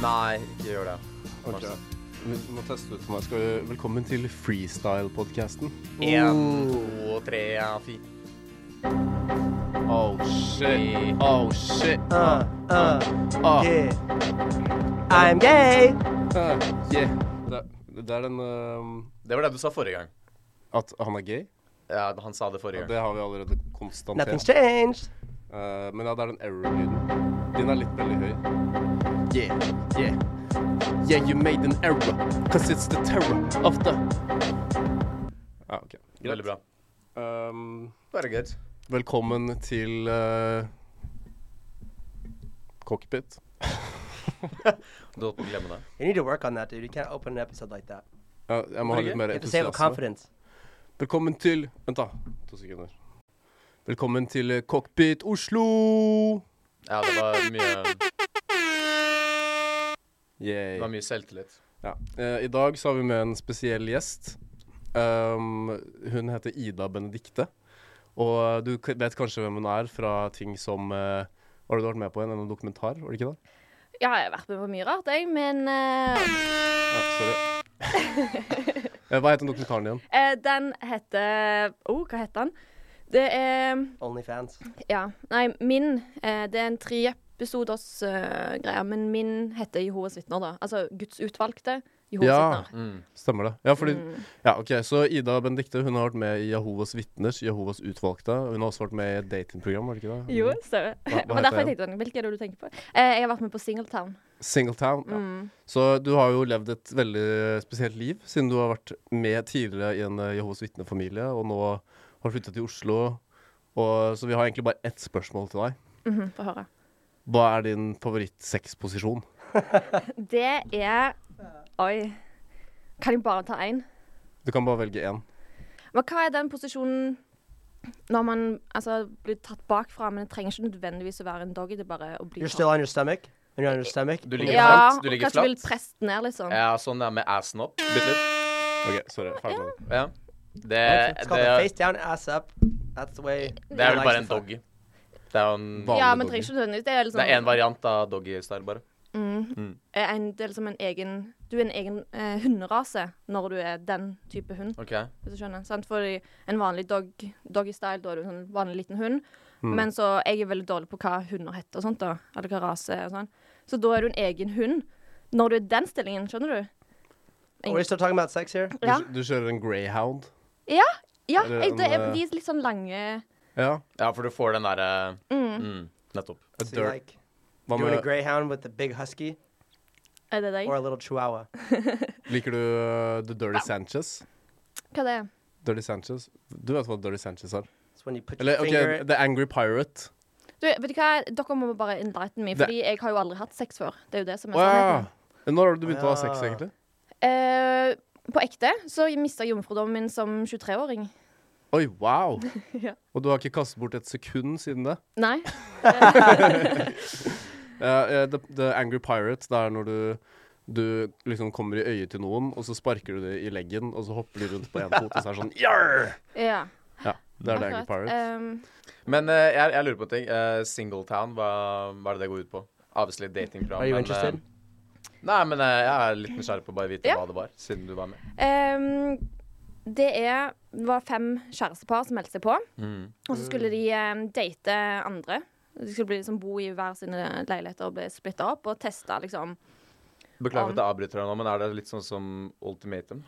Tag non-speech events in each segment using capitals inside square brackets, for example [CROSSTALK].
Nei, ikke gjør det. Ok. Marcel. Vi må teste ut for meg. Skal vi... Velkommen til freestyle-podkasten. Én, to, tre, fire. Oh shit. Oh shit. Uh, uh, Yeah. I'm gay. uh, yeah. Det, det er den ehm, Det var det du sa forrige gang. At han er gay? Ja, han sa det forrige gang. Det har vi allerede Nothing's konstatert. changed. Eh, men ja, det er den error-lyden. Din er litt veldig høy. Yeah, yeah. Yeah, you made an error. Cause it's the terror of the Ja, OK. Veldig bra. Ehm, Very good. velkommen til eh, cockpit. Du holdt på å glemme det. You need to work on that, dude. You can't open an episode like that. Ja, jeg må ha litt mer You have to save up entusiasme. confidence. Velkommen til Vent, da. To sekunder. Velkommen til eh, Cockpit Oslo! Ja, det var mye, Yay. det var mye selvtillit. Ja. Eh, I dag så har vi med en spesiell gjest. Um, hun heter Ida Benedikte. Og eh, du k- vet kanskje hvem hun er fra ting som eh, Var det du har vært med på en, en dokumentar? var det ikke det? Ja, jeg har vært med på mye rart, jeg, men eh, Ja, sorry. Eh, Hva heter den dokumentaren igjen? eh, den heter Å, oh, hva heter den? Det er OnlyFans. Ja, nei, min eh, Det er en treepisoders uh, greie, men min heter Jehovas vitner, da. Altså Guds utvalgte Jehovas Ja. vitner. Mm. Stemmer det. Ja, fordi, Mm. ja, ok, Så Ida Benedikte hun har vært med i Jehovas vitners, Jehovas utvalgte. Hun har også vært med i et datingprogram, var det ikke det? Jo, stemmer. Mm. Hva- hva Det var heter derfor jeg tenkte den. Hvilken er det du tenker på? Eh, jeg har vært med på Singletown. Singletown. Ja. Mm. Så du har jo levd et veldig spesielt liv, siden du har vært med tidligere i en eh, Jehovas vitnefamilie, og nå har flytta til Oslo. Og, så vi har egentlig bare ett spørsmål til deg. Mhm, Få høre. Hva er din favorittsexposisjon? Det er Oi. Kan jeg bare ta én? Du kan bare velge én. Men hva er den posisjonen når man altså, blir tatt bakfra, men det trenger ikke nødvendigvis å være en doggy, det er bare å bli You're tatt- still on your stomach. When you're on your stomach. Du ligger Ja, flatt. Du og ligger kanskje vil flatt. presse den ned, liksom. Ja, sånn der med assen opp. Bitte litt. OK, sorry. Ferdig med det. Ja. Det, It's called a det, face down, ass up. That's the way. det er I vel like bare to en fuck. doggy. Det er jo en Hva? Ja, vanlig men doggy. trenger ikke nødvendigvis. Det er liksom Det er én variant av doggystyle, bare. Mm. Eh, En, det er liksom en egen Du er en egen eh, hunderase når du er den type hund, OK. hvis du skjønner. Sant? For i en vanlig dog, doggystyle, da er du en sånn vanlig liten hund. Mm. Men så jeg er veldig dårlig på hva hunder heter og sånt, da. Eller hva rase er og sånn. Så da er du en egen hund når du er den stillingen, skjønner du? Are we still talking about sex here? Du, Ja. du kjører en greyhound? Ja, ja Eller jeg, det er, en, eh, de er litt sånn lange Ja. Ja, for du får den derre mm, Nettopp. A So you dirt. like Hva doing a med, greyhound with a big husky Er det deg? or a little chihuahua? liker du uh, The Dirty Sanchez? Hva det er det? Dirty Sanchez? Du vet hva Dirty Sanchez er? It's when you put your Eller OK, finger. The Angry Pirate. Du, vet du hva? Dere må bare enlighten meg, Det- fordi jeg har jo aldri hatt sex før. Det er jo det som er Å ja. sannheten. Når har du begynt å ha sex, Ja. egentlig? Eh, på ekte så mista jeg jomfrudommen min som 23-åring. Oi, wow! [LAUGHS] Ja. Og du har ikke kastet bort et sekund siden det? Nei. Eh, eh, the, the Angry Pirate, det er når du, du liksom kommer i øyet til noen, og så sparker du det i leggen, og så hopper de rundt på én fot, og så er det sånn Yarr! Ja, Ja, det er The Angry akkurat. Pirate. Ehm, Men eh, jeg, jeg lurer på en ting. Eh, Singletown, hva, hva er det det går ut på? Obviously datingprogram. Are you men, interested? eh, nei, men eh, jeg er litt nysgjerrig på å bare vite Ja. hva det var, siden du var med. ehm, det er Det var fem kjærestepar som meldte seg på, Mm. og så skulle de ehm, date andre. De skulle bli liksom bo i hver sine leiligheter og bli splitta opp og testa, liksom. Beklager Om- at jeg avbryter deg nå, men er det litt sånn som ultimatum?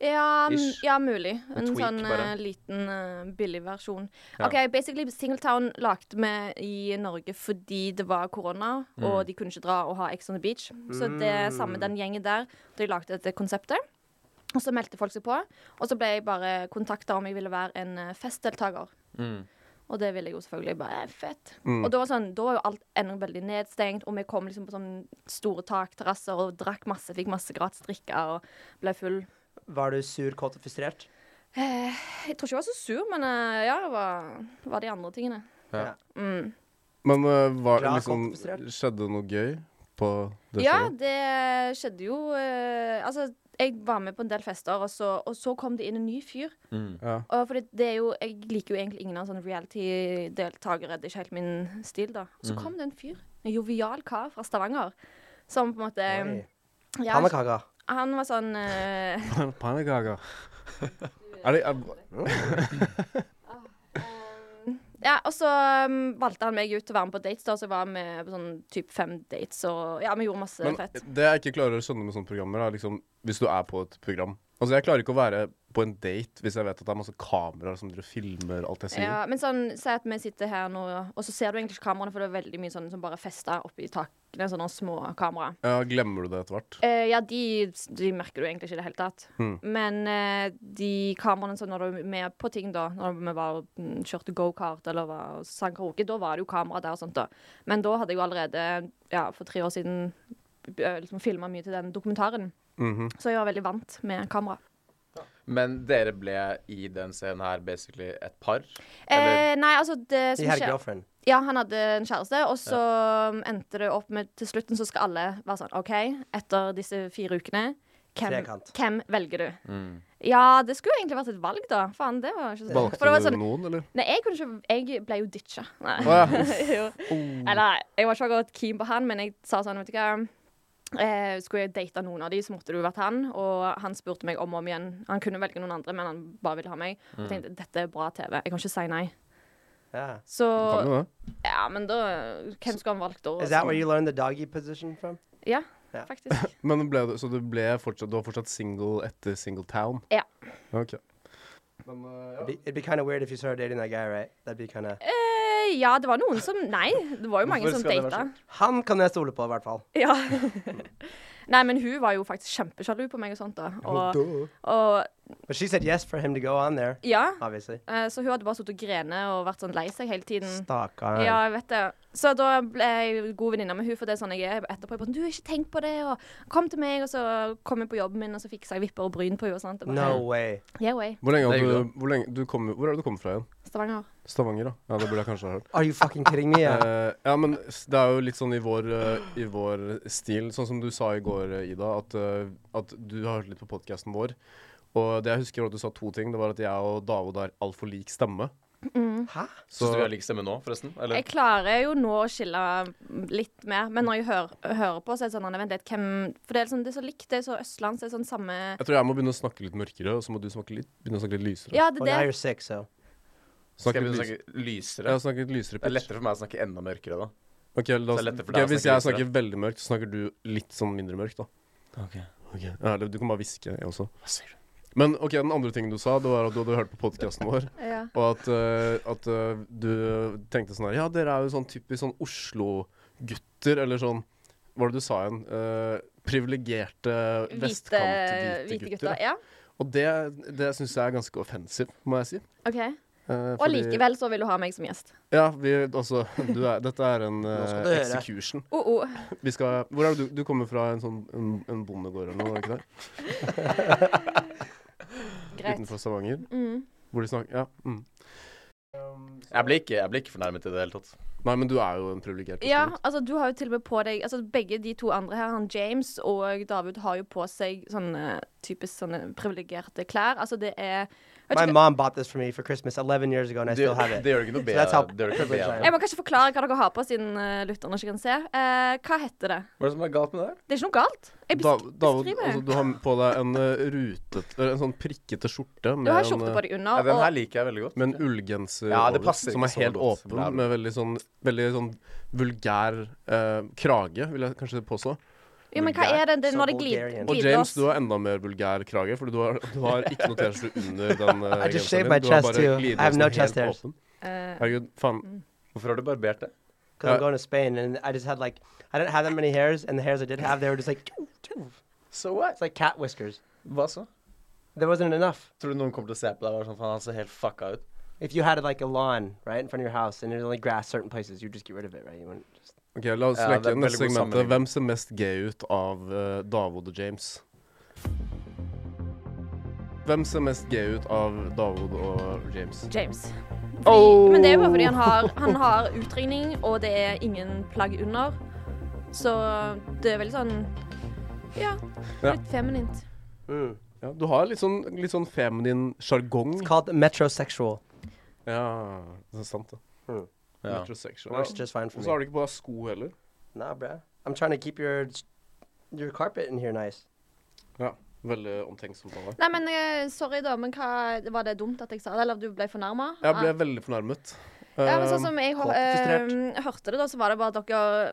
Ja, m- Ish. ja mulig. En En tweak, sånn eh, bare. liten eh, billig versjon. Ja. OK, basically Singletown lagde vi i Norge fordi det var korona, Mm. og de kunne ikke dra og ha Ex on the Beach. Så det er samme den gjengen der. De lagde dette konseptet. Og så meldte folk seg på. Og så ble jeg bare kontakta om jeg ville være en eh, festdeltaker. Mm. Og det ville jeg jo selvfølgelig. bare, eh, fett. Og da var, sånn, da var jo alt ennå veldig nedstengt, og vi kom liksom på sånne store takterrasser og drakk masse, fikk masse gratis drikker og ble full. Var du sur, kåt og frustrert? Eh, jeg tror ikke jeg var så sur, men eh, ja, det var, det var de andre tingene. Ja. Mm. Men eh, var, Glad liksom, konfisert. skjedde noe gøy på det Ja, showet? det skjedde jo eh, Altså, jeg var med på en del fester, og så, og så kom det inn en ny fyr. Mm. Ja. Og fordi det er jo, Jeg liker jo egentlig ingen av sånne reality-deltakere. Det er ikke helt min stil, da. Så kom det en fyr. En jovial kar fra Stavanger. Som på en måte eh, Oi. ja, Pannekaker. Han var sånn eh, Pannekaker. Er det er, Ja, og så um, valgte han meg ut til å være med på dates, da, så jeg var med på sånn typ fem dates, og ja, vi gjorde masse Men fett. det jeg ikke klarer å skjønne med sånne programmer, er liksom hvis du er på et program Altså, jeg klarer ikke å være på en date hvis jeg vet at det er masse kameraer som driver og filmer alt jeg sier. Ja, men sånn, si at vi sitter her nå, og så ser du egentlig ikke kameraene, for det er veldig mye sånn som bare fester oppi takene, sånne små kameraer. Ja, glemmer du det etter hvert? Eh, ja, de, de merker du egentlig ikke i det hele tatt. Mm. Men eh, de kameraene som når du er med på ting, da, når vi var, og, mm, kjørte gokart eller var, og sang karaoke, da var det jo kamera der og sånt, da. Men da hadde jeg jo allerede, ja, for tre år siden eh, liksom filma mye til den dokumentaren. Mhm. Så jeg var veldig vant med kamera. Men dere ble i den scenen her basically et par? Eller Eh, nei, altså det De som her skjer girlfriend. Ja, han hadde en kjæreste, og så endte det opp med Til slutten så skal alle være sånn OK, etter disse fire ukene, hvem, Trekant. hvem velger du? mm. Ja, det skulle jo egentlig vært et valg, da. Faen, det var ikke så For Valgte det var du sånn noen, eller? Nei, jeg kunne ikke Jeg ble jo ditcha. Nei. Å, [LAUGHS] Oh. jo. Eller, jeg var ikke så godt keen på han, men jeg sa sånn, vet du hva eh, Skulle jeg date noen av de, så måtte det jo vært han. Og han spurte meg om og om igjen. Han kunne velge noen andre, men han bare ville ha meg. Mm. Og jeg tenkte dette er bra TV. Jeg kan ikke si nei. Yeah. Så Kan jo det. Ja, men da Hvem skulle han valgt da? Is that where you learned the doggy position from? Ja, Ja. faktisk. Men ble du, så du, ble fortsatt, du var fortsatt single etter Singletown? Ja. Ok. It'd be, it'd be kind of weird if you started dating that guy, right? That'd be kind of Eh, ja, det var noen som Nei, det var jo mange Hvorfor som skal det være data. Han kan jeg stole på, i hvert fall. Ja. [LAUGHS] nei, men hun var jo faktisk kjempesjalu på meg og sånt, da. Og, og But she said yes for him to go on there, Ja. obviously. eh, Så hun hadde bare sittet og grene og vært sånn lei seg hele tiden. Stakkaren. Mm. Ja, jeg vet det. Så da ble jeg god venninne med hun, for det er sånn jeg er etterpå. Jeg bare, sånn, du, ikke tenk på det, og kom til meg, og så kom jeg på jobben min, og så fiksa jeg vipper og bryn på hun og sånt. Jeg No Bare, way. yeah way. Hvor lenge Det er hadde jo du, hvor lenge, du kom, Hvor er det du kommer fra igjen? Stavanger. Stavanger, da? Ja, det burde jeg kanskje ha hørt. Are you fucking [LAUGHS] kidding me? Uh, Ja. Eh, ja, men s- det er jo litt sånn i vår, eh, i vår stil, sånn som du sa i går, eh, Ida, at, eh, at du har hørt litt på podkasten vår. Og det jeg husker var at du sa to ting. Det var at jeg og David har altfor lik stemme. Hæ? Syns du vi har Så lik stemme nå, forresten? Eller? Jeg klarer jo nå å skille litt mer, men når jeg hører, hører på, så er det sånn nei, Vent litt, hvem For det er, liksom, det er så likt, det er så østlands, det er sånn samme jeg tror jeg må begynne å snakke litt mørkere, og så må du snakke litt, begynne å snakke litt lysere. Ja, det Well, now er you're det. sick, so. Skal jeg begynne å litt lys- snakke lysere? Ja, snakke litt lysere Det er pitch. lettere for meg å snakke enda mørkere, da. Ok, Så det er la oss, lettere for ok, deg å hvis snakke jeg snakker veldig mørkt, så snakker du litt sånn mindre mørkt, da. Ok, ja, eller Du kan bare hviske, jeg også. Hva sier du? Men ok, den andre tingen du sa, det var at du hadde hørt på podkasten vår, Ja. og at, eh, at eh, du tenkte sånn her Ja, dere er jo sånn typisk sånn Oslo-gutter, eller sånn Hva var det du sa igjen? Uh, Privilegerte Hvite, hvite vestkant-hvite gutter. gutter. Ja. Og det, det syns jeg er ganske offensive, må jeg si. OK. Eh, Og fordi- likevel så vil du ha meg som gjest. Ja, vi altså du er, Dette er en Nå skal eh, du høre. execution. Oh, oh. Vi skal, hvor er det du, du kommer fra en sånn en, en bondegård eller noe? ikke det? Greit. Utenfor Stavanger? Mm. Hvor de snakker Ja. Mm. Jeg blir ikke, jeg blir ikke fornærmet i det hele tatt. Nei, men du er jo en privilegert Ja, gutt. altså du har jo til og med på deg Altså Begge de to andre her, han James og David, har jo på seg sånne typisk sånne privilegerte klær. Altså det er jeg vet My ikke- mom bought this for me for Christmas 11 years ago, and I Det, still have it. det gjør det ikke noe that's how bedre. Det gjør det ikke noe privileged I am. bedre. Jeg må kanskje forklare hva dere har på, siden uh, lytterne ikke kan se. Eh, hva heter det? Hva er det som er galt med det? Det er ikke noe galt. Jeg Da, besk David, beskriver. altså, du har på deg en eh, rutet eller En sånn prikkete skjorte du med har en, skjorte eh, på deg Ja, under. den her Og, liker jeg veldig godt. med en ullgenser Ja, det over, passer som ikke er så helt godt. åpen, med veldig sånn, veldig sånn vulgær eh, krage, vil jeg kanskje påstå. ja, men hva er den? Det er Så når det glir- Bulgarian. Og glider James, oss. du har enda mer vulgær krage, for du har, du har ikke noe T-skjorte under den uh, [LAUGHS] I just shaved my Du har chest bare too. I have glidelåsen no helt chest hairs. åpen. Eh, Herregud, faen. Hvorfor har du barbert det? Uh, Because I'm going to Spain, and I just had like, I didn't have that many hairs, and the hairs I did have, they were just like, So what? it's like cat whiskers. Hva så? There wasn't enough. Tror du noen kommer til å se på deg og være sånn faen, han ser helt fucka ut? If you had like a lawn right in front of your house, and there's only grass certain places, you just get rid of it, right? You wouldn't just. Ok, La oss Ja, det leke er en neste veldig god segmentet. sammenligning. Hvem ser mest gay ut av eh, Davod og James? Hvem ser mest gay ut av Davod og James? James. Fordi, Oh! Men det er jo bare fordi han har, han har utringning, og det er ingen plagg under. Så det er veldig sånn Ja, Ja. litt feminint. Mm. Ja, du har litt sånn, litt sånn feminin sjargong. It's called metrosexual. Ja, det er sant, det. Ja. Metrosexual. Works just fine for Og så har me. du ikke på deg sko heller. Nah, bruh. I'm trying to keep your your carpet in here nice. Ja, veldig omtenksom på deg. Nei, men eh, sorry, da, men hva, var det dumt at jeg sa det? Eller du ble fornærma? Jeg ble veldig fornærmet. Ja, men sånn Um, som jeg hør- frustrert. eh, hørte det, da, så var det bare at dere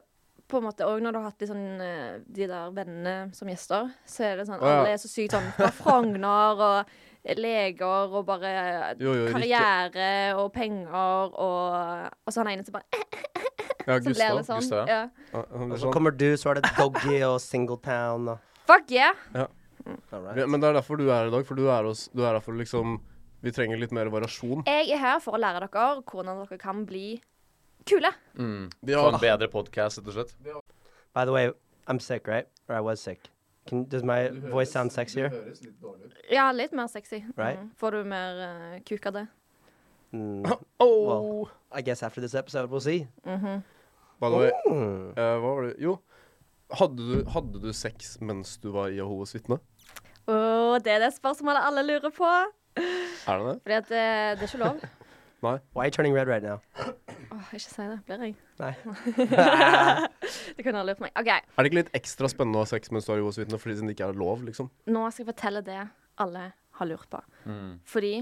på en måte, Og når du har hatt de, sånn, eh, de der vennene som gjester, så er det sånn Å, ja. Alle er så sykt sånn fra Frogner og leger og bare Jo, jo, riktig. Karriere og penger og Og så han ene som bare "Eh, ja, så ble Gustav. det sånn. Gustav, Ja. Ja, han ble Og så sånn. kommer du, så er det Doggy [LAUGHS] og Singletown og Fuck yeah! All right. Ja, Men det er derfor du er her i dag, for du er, hos- du er her for liksom Vi trenger litt mer variasjon. Jeg er her for å lære dere hvordan dere kan bli kule. Mm. Ja. Få en bedre podkast, rett og slett. By the way, I'm sick, right? Or I was sick. Can, does my voice sound sexier? Ja, litt mer sexy. Right. Mm. Får du mer eh, kuk av det? Mm, Oh. I guess after this episode, we'll see. By the way, Mm. eh, hva var det Jo. Hadde du, hadde du sex mens du var Jehovas vitne? Åh, det er det spørsmålet alle lurer på. Er det det? Fordi at det, det er ikke lov. Why are you turning red right [LAUGHS] now? Åh, ikke si det. Blir jeg? Nei. Du kunne ha lurt meg. OK, Er det ikke litt ekstra spennende å ha sex mens du er Jehovas vitne fordi det ikke er lov, liksom? nå skal jeg fortelle det alle har lurt på. Fordi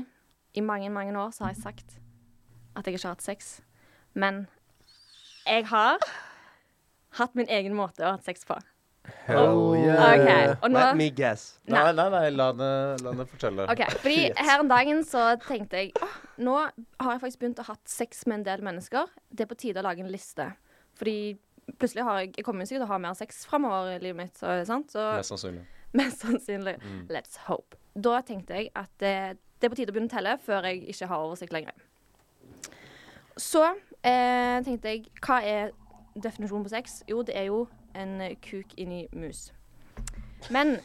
i mange, mange år så har jeg sagt at jeg ikke har hatt sex. Men jeg har hatt min egen måte å ha hatt sex på. Hell yeah. Ok, og nå- Eh, Let me guess. Nei. Nei, nei, nei la det la det fortelle. OK. Fordi her om dagen så tenkte jeg åh, nå har jeg faktisk begynt å ha hatt sex med en del mennesker. Det er på tide å lage en liste. Fordi plutselig har jeg Jeg kommer jo sikkert til å ha mer sex framover i livet mitt, så, sant? så Mest sannsynlig. [LAUGHS] mest sannsynlig. Let's hope. Da tenkte jeg at eh, det er på tide å begynne å telle før jeg ikke har oversikt lenger. Så eh, tenkte jeg hva er definisjonen på sex? Jo, det er jo en kuk inni mus. Men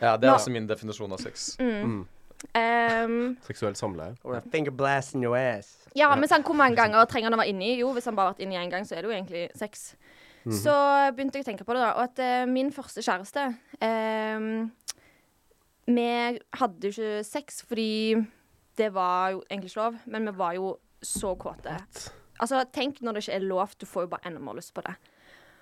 Ja, Det er Nå- Mm. også min definisjon av sex. ehm, Seksuelt samleie. Or a finger blast in your ass. Ja, men sånn, hvor mange ganger trenger han å være inni? Jo, hvis han bare har vært inni én gang, så er det jo egentlig sex. Så begynte jeg å tenke på det, da. Og at eh, min første kjæreste eh, Vi hadde jo ikke sex fordi det var jo egentlig ikke lov, men vi var jo så kåte. Altså, tenk når det ikke er lov. Du får jo bare enda mer lyst på det.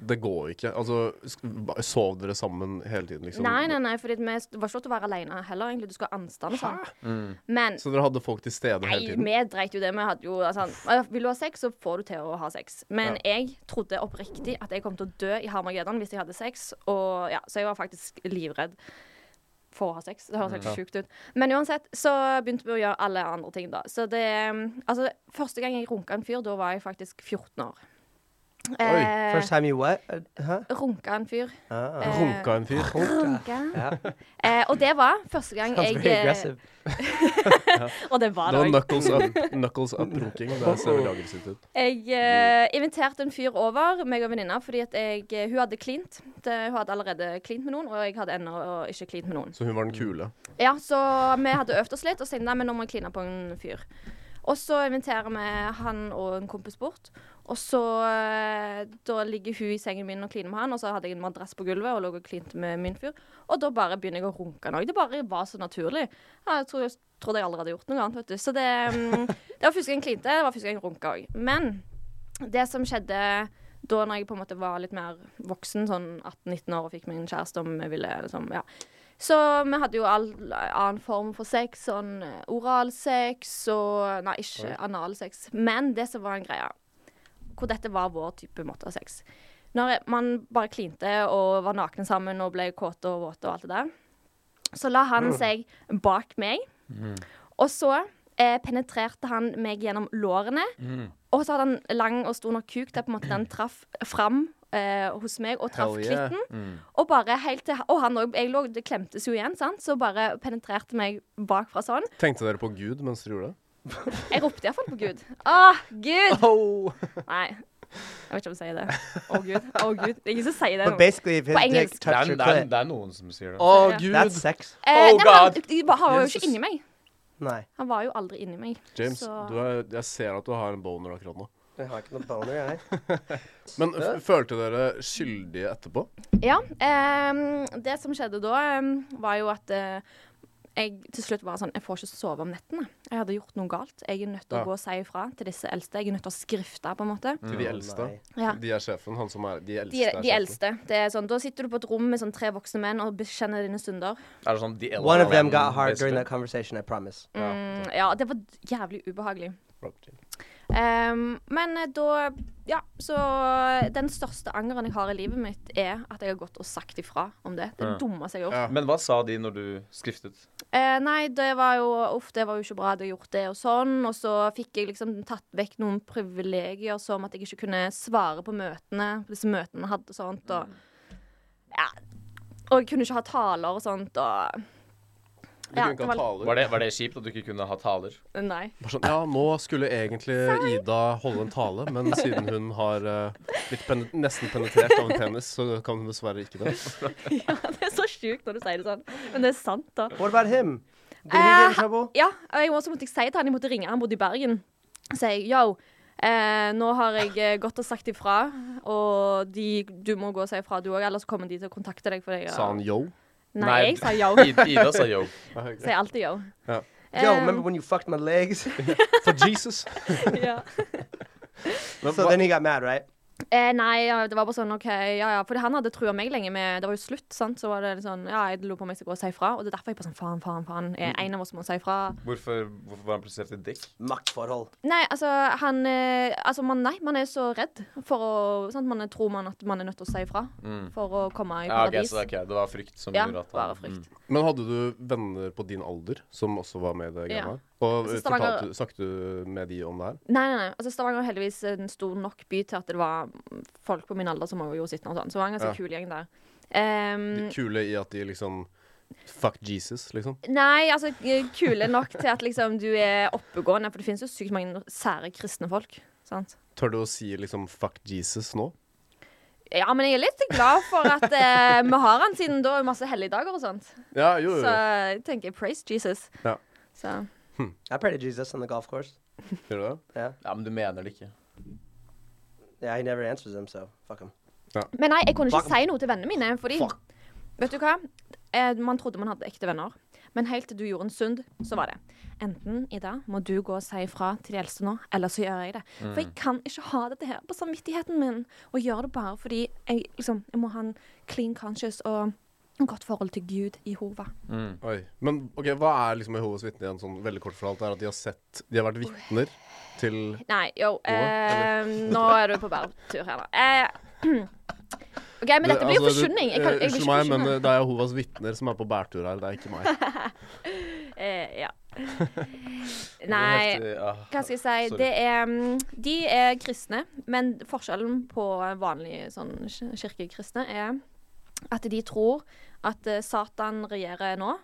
Det går jo ikke. Altså, sk- ba- sov dere sammen hele tiden, liksom? Nei, nei, nei, for det var ikke lov til å være aleine heller, egentlig. Du skal ha anstand og sånn. Men Så dere hadde folk til stede hele Nei, tiden? vi dreit jo det. Vi hadde jo altså, Vil du ha sex, så får du til å ha sex. Men jeg trodde oppriktig at jeg kom til å dø i Harmageddon hvis jeg hadde sex. Og, ja, så jeg var faktisk livredd for å ha sex. Det høres helt sjukt ut. Men uansett så begynte vi å gjøre alle andre ting, da. Så det Altså, første gang jeg runka en fyr, da var jeg faktisk 14 år. First time you what? Uh, huh? runka en fyr. Uh, Eh, Runka en fyr? Runka. yeah. Eh, og det var første gang Sounds jeg eh, very aggressive. Og det var Det det var òg. knuckles up, [LAUGHS] knuckles up runking. Det ser veldig aggressivt ut. Jeg eh, inviterte en fyr over, meg og venninna, fordi at jeg, eh, hun hadde klint. Det, hun hadde allerede klint med noen, og jeg hadde ennå ikke klint med noen. Så hun var den kule. Ja, så vi hadde øvd oss litt, og så tenkte jeg, nei, men nå må jeg kline på en fyr. Og så inviterer vi han og en kompis bort. Og så eh, Da ligger hun i sengen min og kliner med han, og så hadde jeg en madrass på gulvet og lå og klinte med min fyr. Og da bare begynner jeg å runke nå. Det bare var så naturlig. Ja, Jeg tror, jeg trodde jeg allerede hadde gjort noe annet, vet du. Så det, mm, det var første gang jeg klinte, det var første gang jeg runka òg. Men det som skjedde da når jeg på en måte var litt mer voksen, sånn 18-19 år og fikk meg en kjæreste om jeg ville liksom, ja. Så vi hadde jo all annen form for sex, sånn eh, oralsex og Nei, ikke analsex. Men det som var en greie, hvor dette var vår type måte av sex Når man bare klinte og var nakne sammen og ble kåte og våte og alt det der, så la Mm. han seg bak meg, og så eh, penetrerte han meg gjennom lårene. Mm. Og så hadde han lang og stor nok kuk der på en måte den traff fram eh, hos meg og traff Hell yeah. Mm. klitten. Og bare helt til Og han òg. Jeg lå Det klemtes jo igjen, sant. Så bare penetrerte meg bakfra sånn. Tenkte dere på Gud mens dere gjorde det? Jeg ropte iallfall på Gud. Å, Gud! Oh. Nei. Jeg vet ikke om jeg sier det. Å, Gud. Å, Gud. Det er ingen som sier det. But nå. basically, if his På dick engelsk. Det touched er, your det, er, clit, det er noen som sier det. Å, Ja. Gud! that's sex. Eh, Oh, nei, men han, God. de bare- han var jo Jesus. ikke inni meg. Nei. Han var jo aldri inni meg. James, Så- du er, jeg ser at du har en boner akkurat nå. Jeg har ikke noe boner, eh? jeg. Men f følte dere skyldige etterpå? Ja. ehm, det som skjedde da, ehm, var jo at eh, jeg til slutt var sånn Jeg får ikke sove om nettene. Jeg hadde gjort noe galt. Jeg er nødt til Ja. å gå og si ifra til disse eldste. Jeg er nødt til å skrifte, på en måte. Til de Å, eldste. nei. Ja. De er sjefen. Han som er De eldste. De, er de sjefen. eldste. Det er sånn, da sitter du på et rom med sånn tre voksne menn og bekjenner dine synder. Er det sånn de eldre One of them menn, got hard basically? during that conversation, I promise. Mm, ja, det var jævlig ubehagelig. Rockchill. Ehm, men eh, da Ja, så den største angeren jeg har i livet mitt, er at jeg har gått og sagt ifra om det. Det Ja. dummeste jeg har gjort. Ja. Men hva sa de når du skriftet? Eh, nei, det var jo Uff, det var jo ikke bra at jeg gjort det og sånn. Og så fikk jeg liksom tatt vekk noen privilegier, som at jeg ikke kunne svare på møtene. Disse møtene jeg hadde og sånt. Og, ja, og jeg kunne ikke ha taler og sånt. Og Du Ja, kunne ikke det ha var- taler. Var det, var det kjipt at du ikke kunne ha taler? nei. [LAUGHS] Bare sånn, ja, nå skulle egentlig Ida holde en tale, men siden hun har eh, blitt pen nesten penetrert av en penis, så kan hun dessverre ikke det. Ja, det er så sjukt når du sier det sånn. Men det er sant, da. What about him? Did he get in Eh, trouble? Ja, og jeg, så måtte jeg si til han, jeg måtte ringe, han bodde i Bergen. Og si yo, eh, nå har jeg eh, gått og sagt ifra, og de, du må gå og si ifra du òg, ellers kommer de til å kontakte deg. For jeg, Sa han yo? Nei, Nei, jeg sa yo. I- [LAUGHS] Ida sa yo. Sier alltid yo. Ja. Yo, Eh, remember when you fucked [LAUGHS] my legs? For Jesus! ja. Men so hva, then he got mad, right? eh, nei, ja, det var bare sånn OK, ja ja. For han hadde trua meg lenge med Det var jo slutt, sant. Så var det litt sånn Ja, jeg lurer på om jeg skal gå og si ifra. Og det er derfor jeg bare sånn faen, faen, faen. Er Mm. en av oss må si ifra. hvorfor, hvorfor var han plassert i dick? Maktforhold. Nei, altså han eh, Altså, man, nei, man er så redd for å sant? Man er- tror man at man er nødt til å si ifra for å komme Mm. i Ja, ok, paradis. så det, er ok, det var frykt som Ja, gjorde at bare frykt. Mm. Men hadde du venner på din alder som også var med i det Ja. greia? Og Jeg synes fortalte Stavanger- du- snakket du med de om det her? Nei, nei, nei. Altså, Stavanger er heldigvis en stor nok by til at det var folk på min alder som også gjorde sitt. og sånn. Så det var en ganske Ja. kul gjeng der. Ehm, De kule i at de liksom Fuck Jesus, liksom. Nei, altså eh, kule nok til at liksom du er oppegående. For det finnes jo sykt mange sære kristne folk. Sant? Tør du å si liksom fuck Jesus nå? Ja, men jeg er litt glad for [LAUGHS] at eh, vi har han siden da, og masse helligdager og sånt. Ja, jo, jo. Så jeg tenker praise Jesus. Ja. Så I prayed to Jesus on the golf course. Gjør du det? Yeah. Ja, men du mener det ikke. Yeah, he never answers them, so fuck him. Men nei, jeg kunne ikke Fuck. si noe til vennene mine. Fordi, vet du hva? Eh, man trodde man hadde ekte venner. Men helt til du gjorde en synd, så var det enten Ida, må du gå og si ifra til de eldste nå, eller så gjør jeg det. For Mm. jeg kan ikke ha dette her på samvittigheten min. Og gjør det bare fordi jeg, liksom, jeg må ha en clean conscious og et godt forhold til Gud, Jehova. Oi. Men ok, hva er liksom Jehovas vitner igjen, sånn veldig kort fortalt? Er at de har sett De har vært vitner til Nei, jo. Nå, Eh, nå er du på bærtur her, da. Eh, [CLEARS THROAT] OK, men dette blir jo Altså, forkynning. Jeg, kan, jeg Unnskyld vil ikke meg, men forkynne. eh, det er Jehovas vitner som er på bærtur her, det er ikke [LAUGHS] meg. [LAUGHS] Eh, ja. Det var Nei. heftig, ah. Hva skal jeg si? Sorry. Det er, mm, de er kristne, men forskjellen på vanlige sånn, kir- kirkekristne er at de tror at eh, Satan regjerer nå,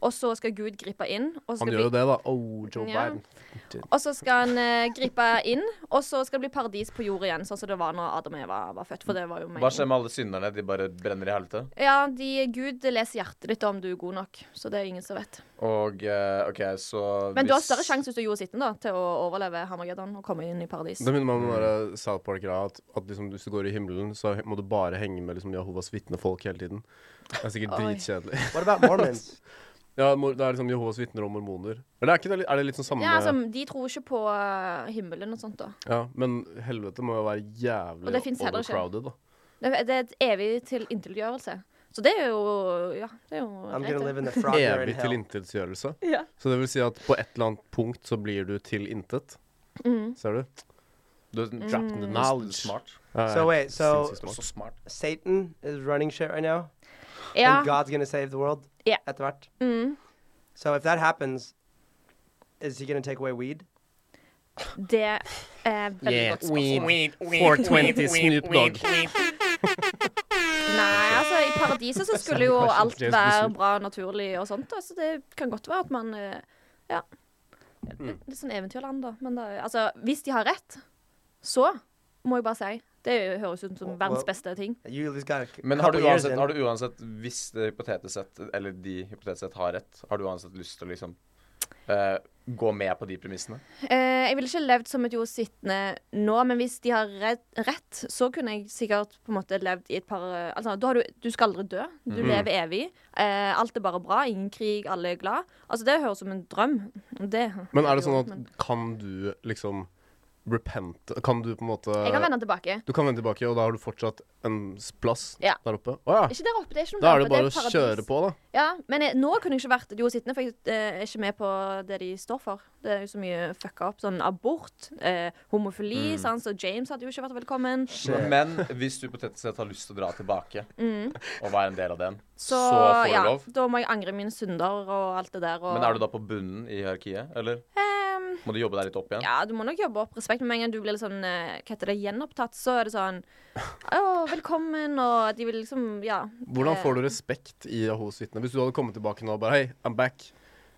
og så skal Gud gripe inn. Og så Han skal, gjør jo bli, det, da. Oh, Joe Ja. Biden. og så skal han eh, gripe inn, og så skal det bli paradis på jord igjen, sånn som det var når Adam og Eva var født. For det var jo Hva skjer meningen. med alle synderne? De bare brenner i helvete? Ja, de, Gud leser hjertet ditt om du er god nok, så det er ingen som vet. Og eh, OK, så Men du har hvis- større sjanse hvis du gjorde sitten da, til å overleve Harmageddon og komme inn i paradis. Det minner meg om Mm. den der eh, South Park-greia at, at liksom, hvis du går i himmelen, så må du bare henge med liksom, Jehovas vitnefolk hele tiden. Det er sikkert [LAUGHS] Oi. dritkjedelig. [LAUGHS] What about Mormons? Ja, mor- det er liksom Jehovas vitner og mormoner. Eller er, ikke det, litt- er det litt sånn samme Ja, altså, de tror ikke på eh, himmelen og sånt, da. Ja, Men helvete må jo være Og jævlig det finnes heller ikke. overcrowded, da. Det, det er et evig til intetgjørelse. Så det er jo Ja, det er jo I'm gonna greit, det. live in the frog or in Evig hell. tilintetgjørelse. Ja. Så det vil si at på et eller annet punkt så blir du til intet. Mm. Ser du? Du er trapped in the Knowledge. Smart. Eh, So wait, so Du sinnssykt er smart. så smart. Satan is running shit right now, ja. and God's gonna save the world. Yeah. At the rat. Mm. So if that happens, is he gonna take away weed? Det er veldig godt spørsmål. 420 Snoop Dogg. Nei, altså, i paradiset så skulle jo alt James være Bond. bra naturlig og sånt, da, så det kan godt være at man eh, Ja. Litt sånn eventyrland, da. Men da, altså, hvis de har rett, så må jeg bare si Det høres ut som verdens beste ting. You at least got a c- Men har du, couple years uansett, in. har du uansett, hvis det hypotetisk sett, eller de hypotetisk sett har rett, har du uansett lyst til å liksom eh, gå med på de premissene? Eh, jeg ville ikke levd som et jords vitne nå, men hvis de har rett, rett, så kunne jeg sikkert på en måte levd i et par eh, altså, da har du, du skal aldri dø. Du Mm. lever evig. Eh, alt er bare bra. Ingen krig, alle er glad. Altså, det høres ut som en drøm. Det, Men er det sånn at kan du liksom repente Kan du eh, på en måte Jeg kan vende tilbake. Du kan vende tilbake, og da har du fortsatt en s- plass Ja. der oppe? Å ja. Ikke der oppe, det er ikke noe Da er der det oppe, bare et å paradis. kjøre på, da. Ja, men jeg, nå kunne jeg ikke vært et jords vitne, for jeg eh, er ikke med på det de står for. Det er jo så mye fucka opp. Sånn abort, eh, Mm. homofili, sant, så James hadde jo ikke vært velkommen. Men hvis du potensielt sett har lyst til å dra tilbake og være en del av den, Mm. Så, så, får du ja, lov. da må jeg angre mine synder og alt det der. Og, Men er du da på bunnen i hierarkiet, eller Ehm, må du jobbe deg litt opp igjen? ja, du må nok jobbe opp respekt, men med en gang du blir litt sånn eh, Hva heter det, gjenopptatt, så er det sånn Å, velkommen, og de vil liksom Ja. Hvordan får du respekt i Jehovas vitner? Hvis du hadde kommet tilbake nå og bare Hei, I'm back.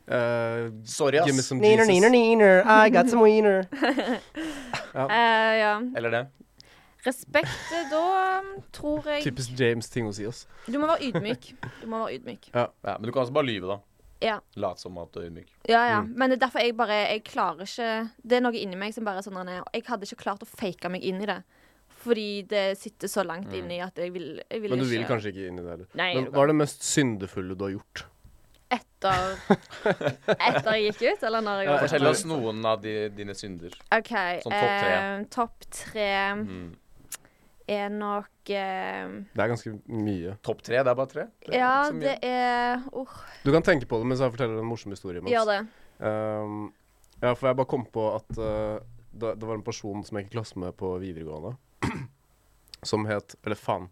Eh, Sorry, give me ass. some Neener, neener, Jesus. neener. I got some wiener. Eh, ja. Eller det? Respekt, eh, da um, tror jeg Typisk James-ting å si, ass. Du må være ydmyk. Du må være ydmyk. Ja, men du kan altså bare lyve, da. Ja. Late som at du er ydmyk. Ja, ja. Men det er derfor jeg bare Jeg klarer ikke Det er noe inni meg som bare er sånn Anne, Jeg hadde ikke klart å fake meg inn i det. Fordi det sitter så langt inni at jeg vil, jeg vil Men du ikke vil kanskje ikke inn i det heller. Nei, Men jeg vil hva er det mest syndefulle du har gjort? Etter Etter jeg gikk ut, eller når jeg var Fortell oss noen av de, dine synder. OK. Sånn topp tre. eh, topp tre Mm. er nok eh, Det er ganske mye. Topp tre? Det er bare tre? Det er Ja, ikke så mye. det er Åh, Du kan tenke på det mens jeg forteller en morsom historie. imens. gjør det. Ehm, ja, for jeg bare kom på at eh, det, det var en person som jeg gikk i klasse med på videregående, [CLEARS THROAT] som het Eller faen.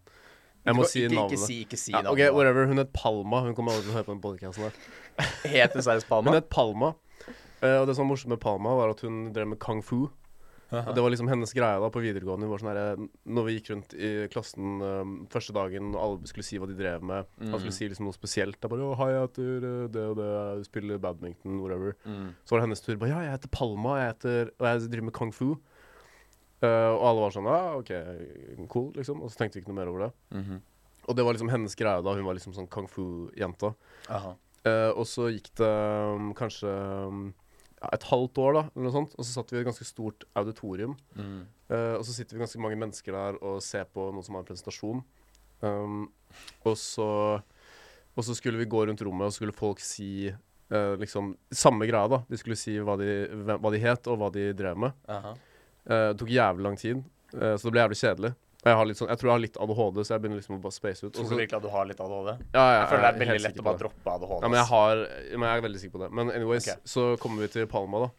Jeg må Ikke- si ikke, navnet. Ikke si, ikke si ja, navnet. ok, whatever. Hun het Palma. Hun kommer aldri til å høre på den podcasten her. Helt til Sveriges Palma. Hun het Palma. Eh, og det som var morsomt med Palma, var at hun drev med kung fu. Og det var liksom hennes greie da på videregående. Hun var sånn her, når vi gikk rundt i klassen eh, første dagen, og alle skulle si hva de drev med Alle skulle si liksom noe spesielt. Da bare, «Å, 'Hei, jeg heter eh, det og det. Jeg spiller badminton. Whatever.' Mm. Så var det hennes tur. bare, 'Ja, jeg heter Palma, jeg heter, og jeg driver med kung fu'. Eh, og alle var sånn 'Ja, OK, cool', liksom. Og så tenkte vi ikke noe mer over det. Og det var liksom hennes greie da. Hun var liksom sånn kung fu-jenta. Aha. Eh, og så gikk det um, kanskje um, ja, et halvt år, da, eller noe sånt. Og så satt vi i et ganske stort auditorium. Mm. Eh, og så sitter vi ganske mange mennesker der og ser på noen som har en presentasjon. Um, og, så, og så skulle vi gå rundt rommet, og så skulle folk si eh, liksom samme greia, da. De skulle si hva de, hvem- hva de het, og hva de drev med. Aha. Eh, det tok jævlig lang tid, eh, så det ble jævlig kjedelig. Og jeg, har litt sånn, jeg tror jeg har litt ADHD, så jeg begynner liksom å bare space ut. Og Tror så- du virkelig at du har litt ADHD? ja, ja, Jeg føler det er helt veldig sikker lett å på bare det. droppe ADHD. Ja, men jeg, ass. har, men jeg er veldig sikker på det. Men anyways, Ok. så kommer vi til Palma, da.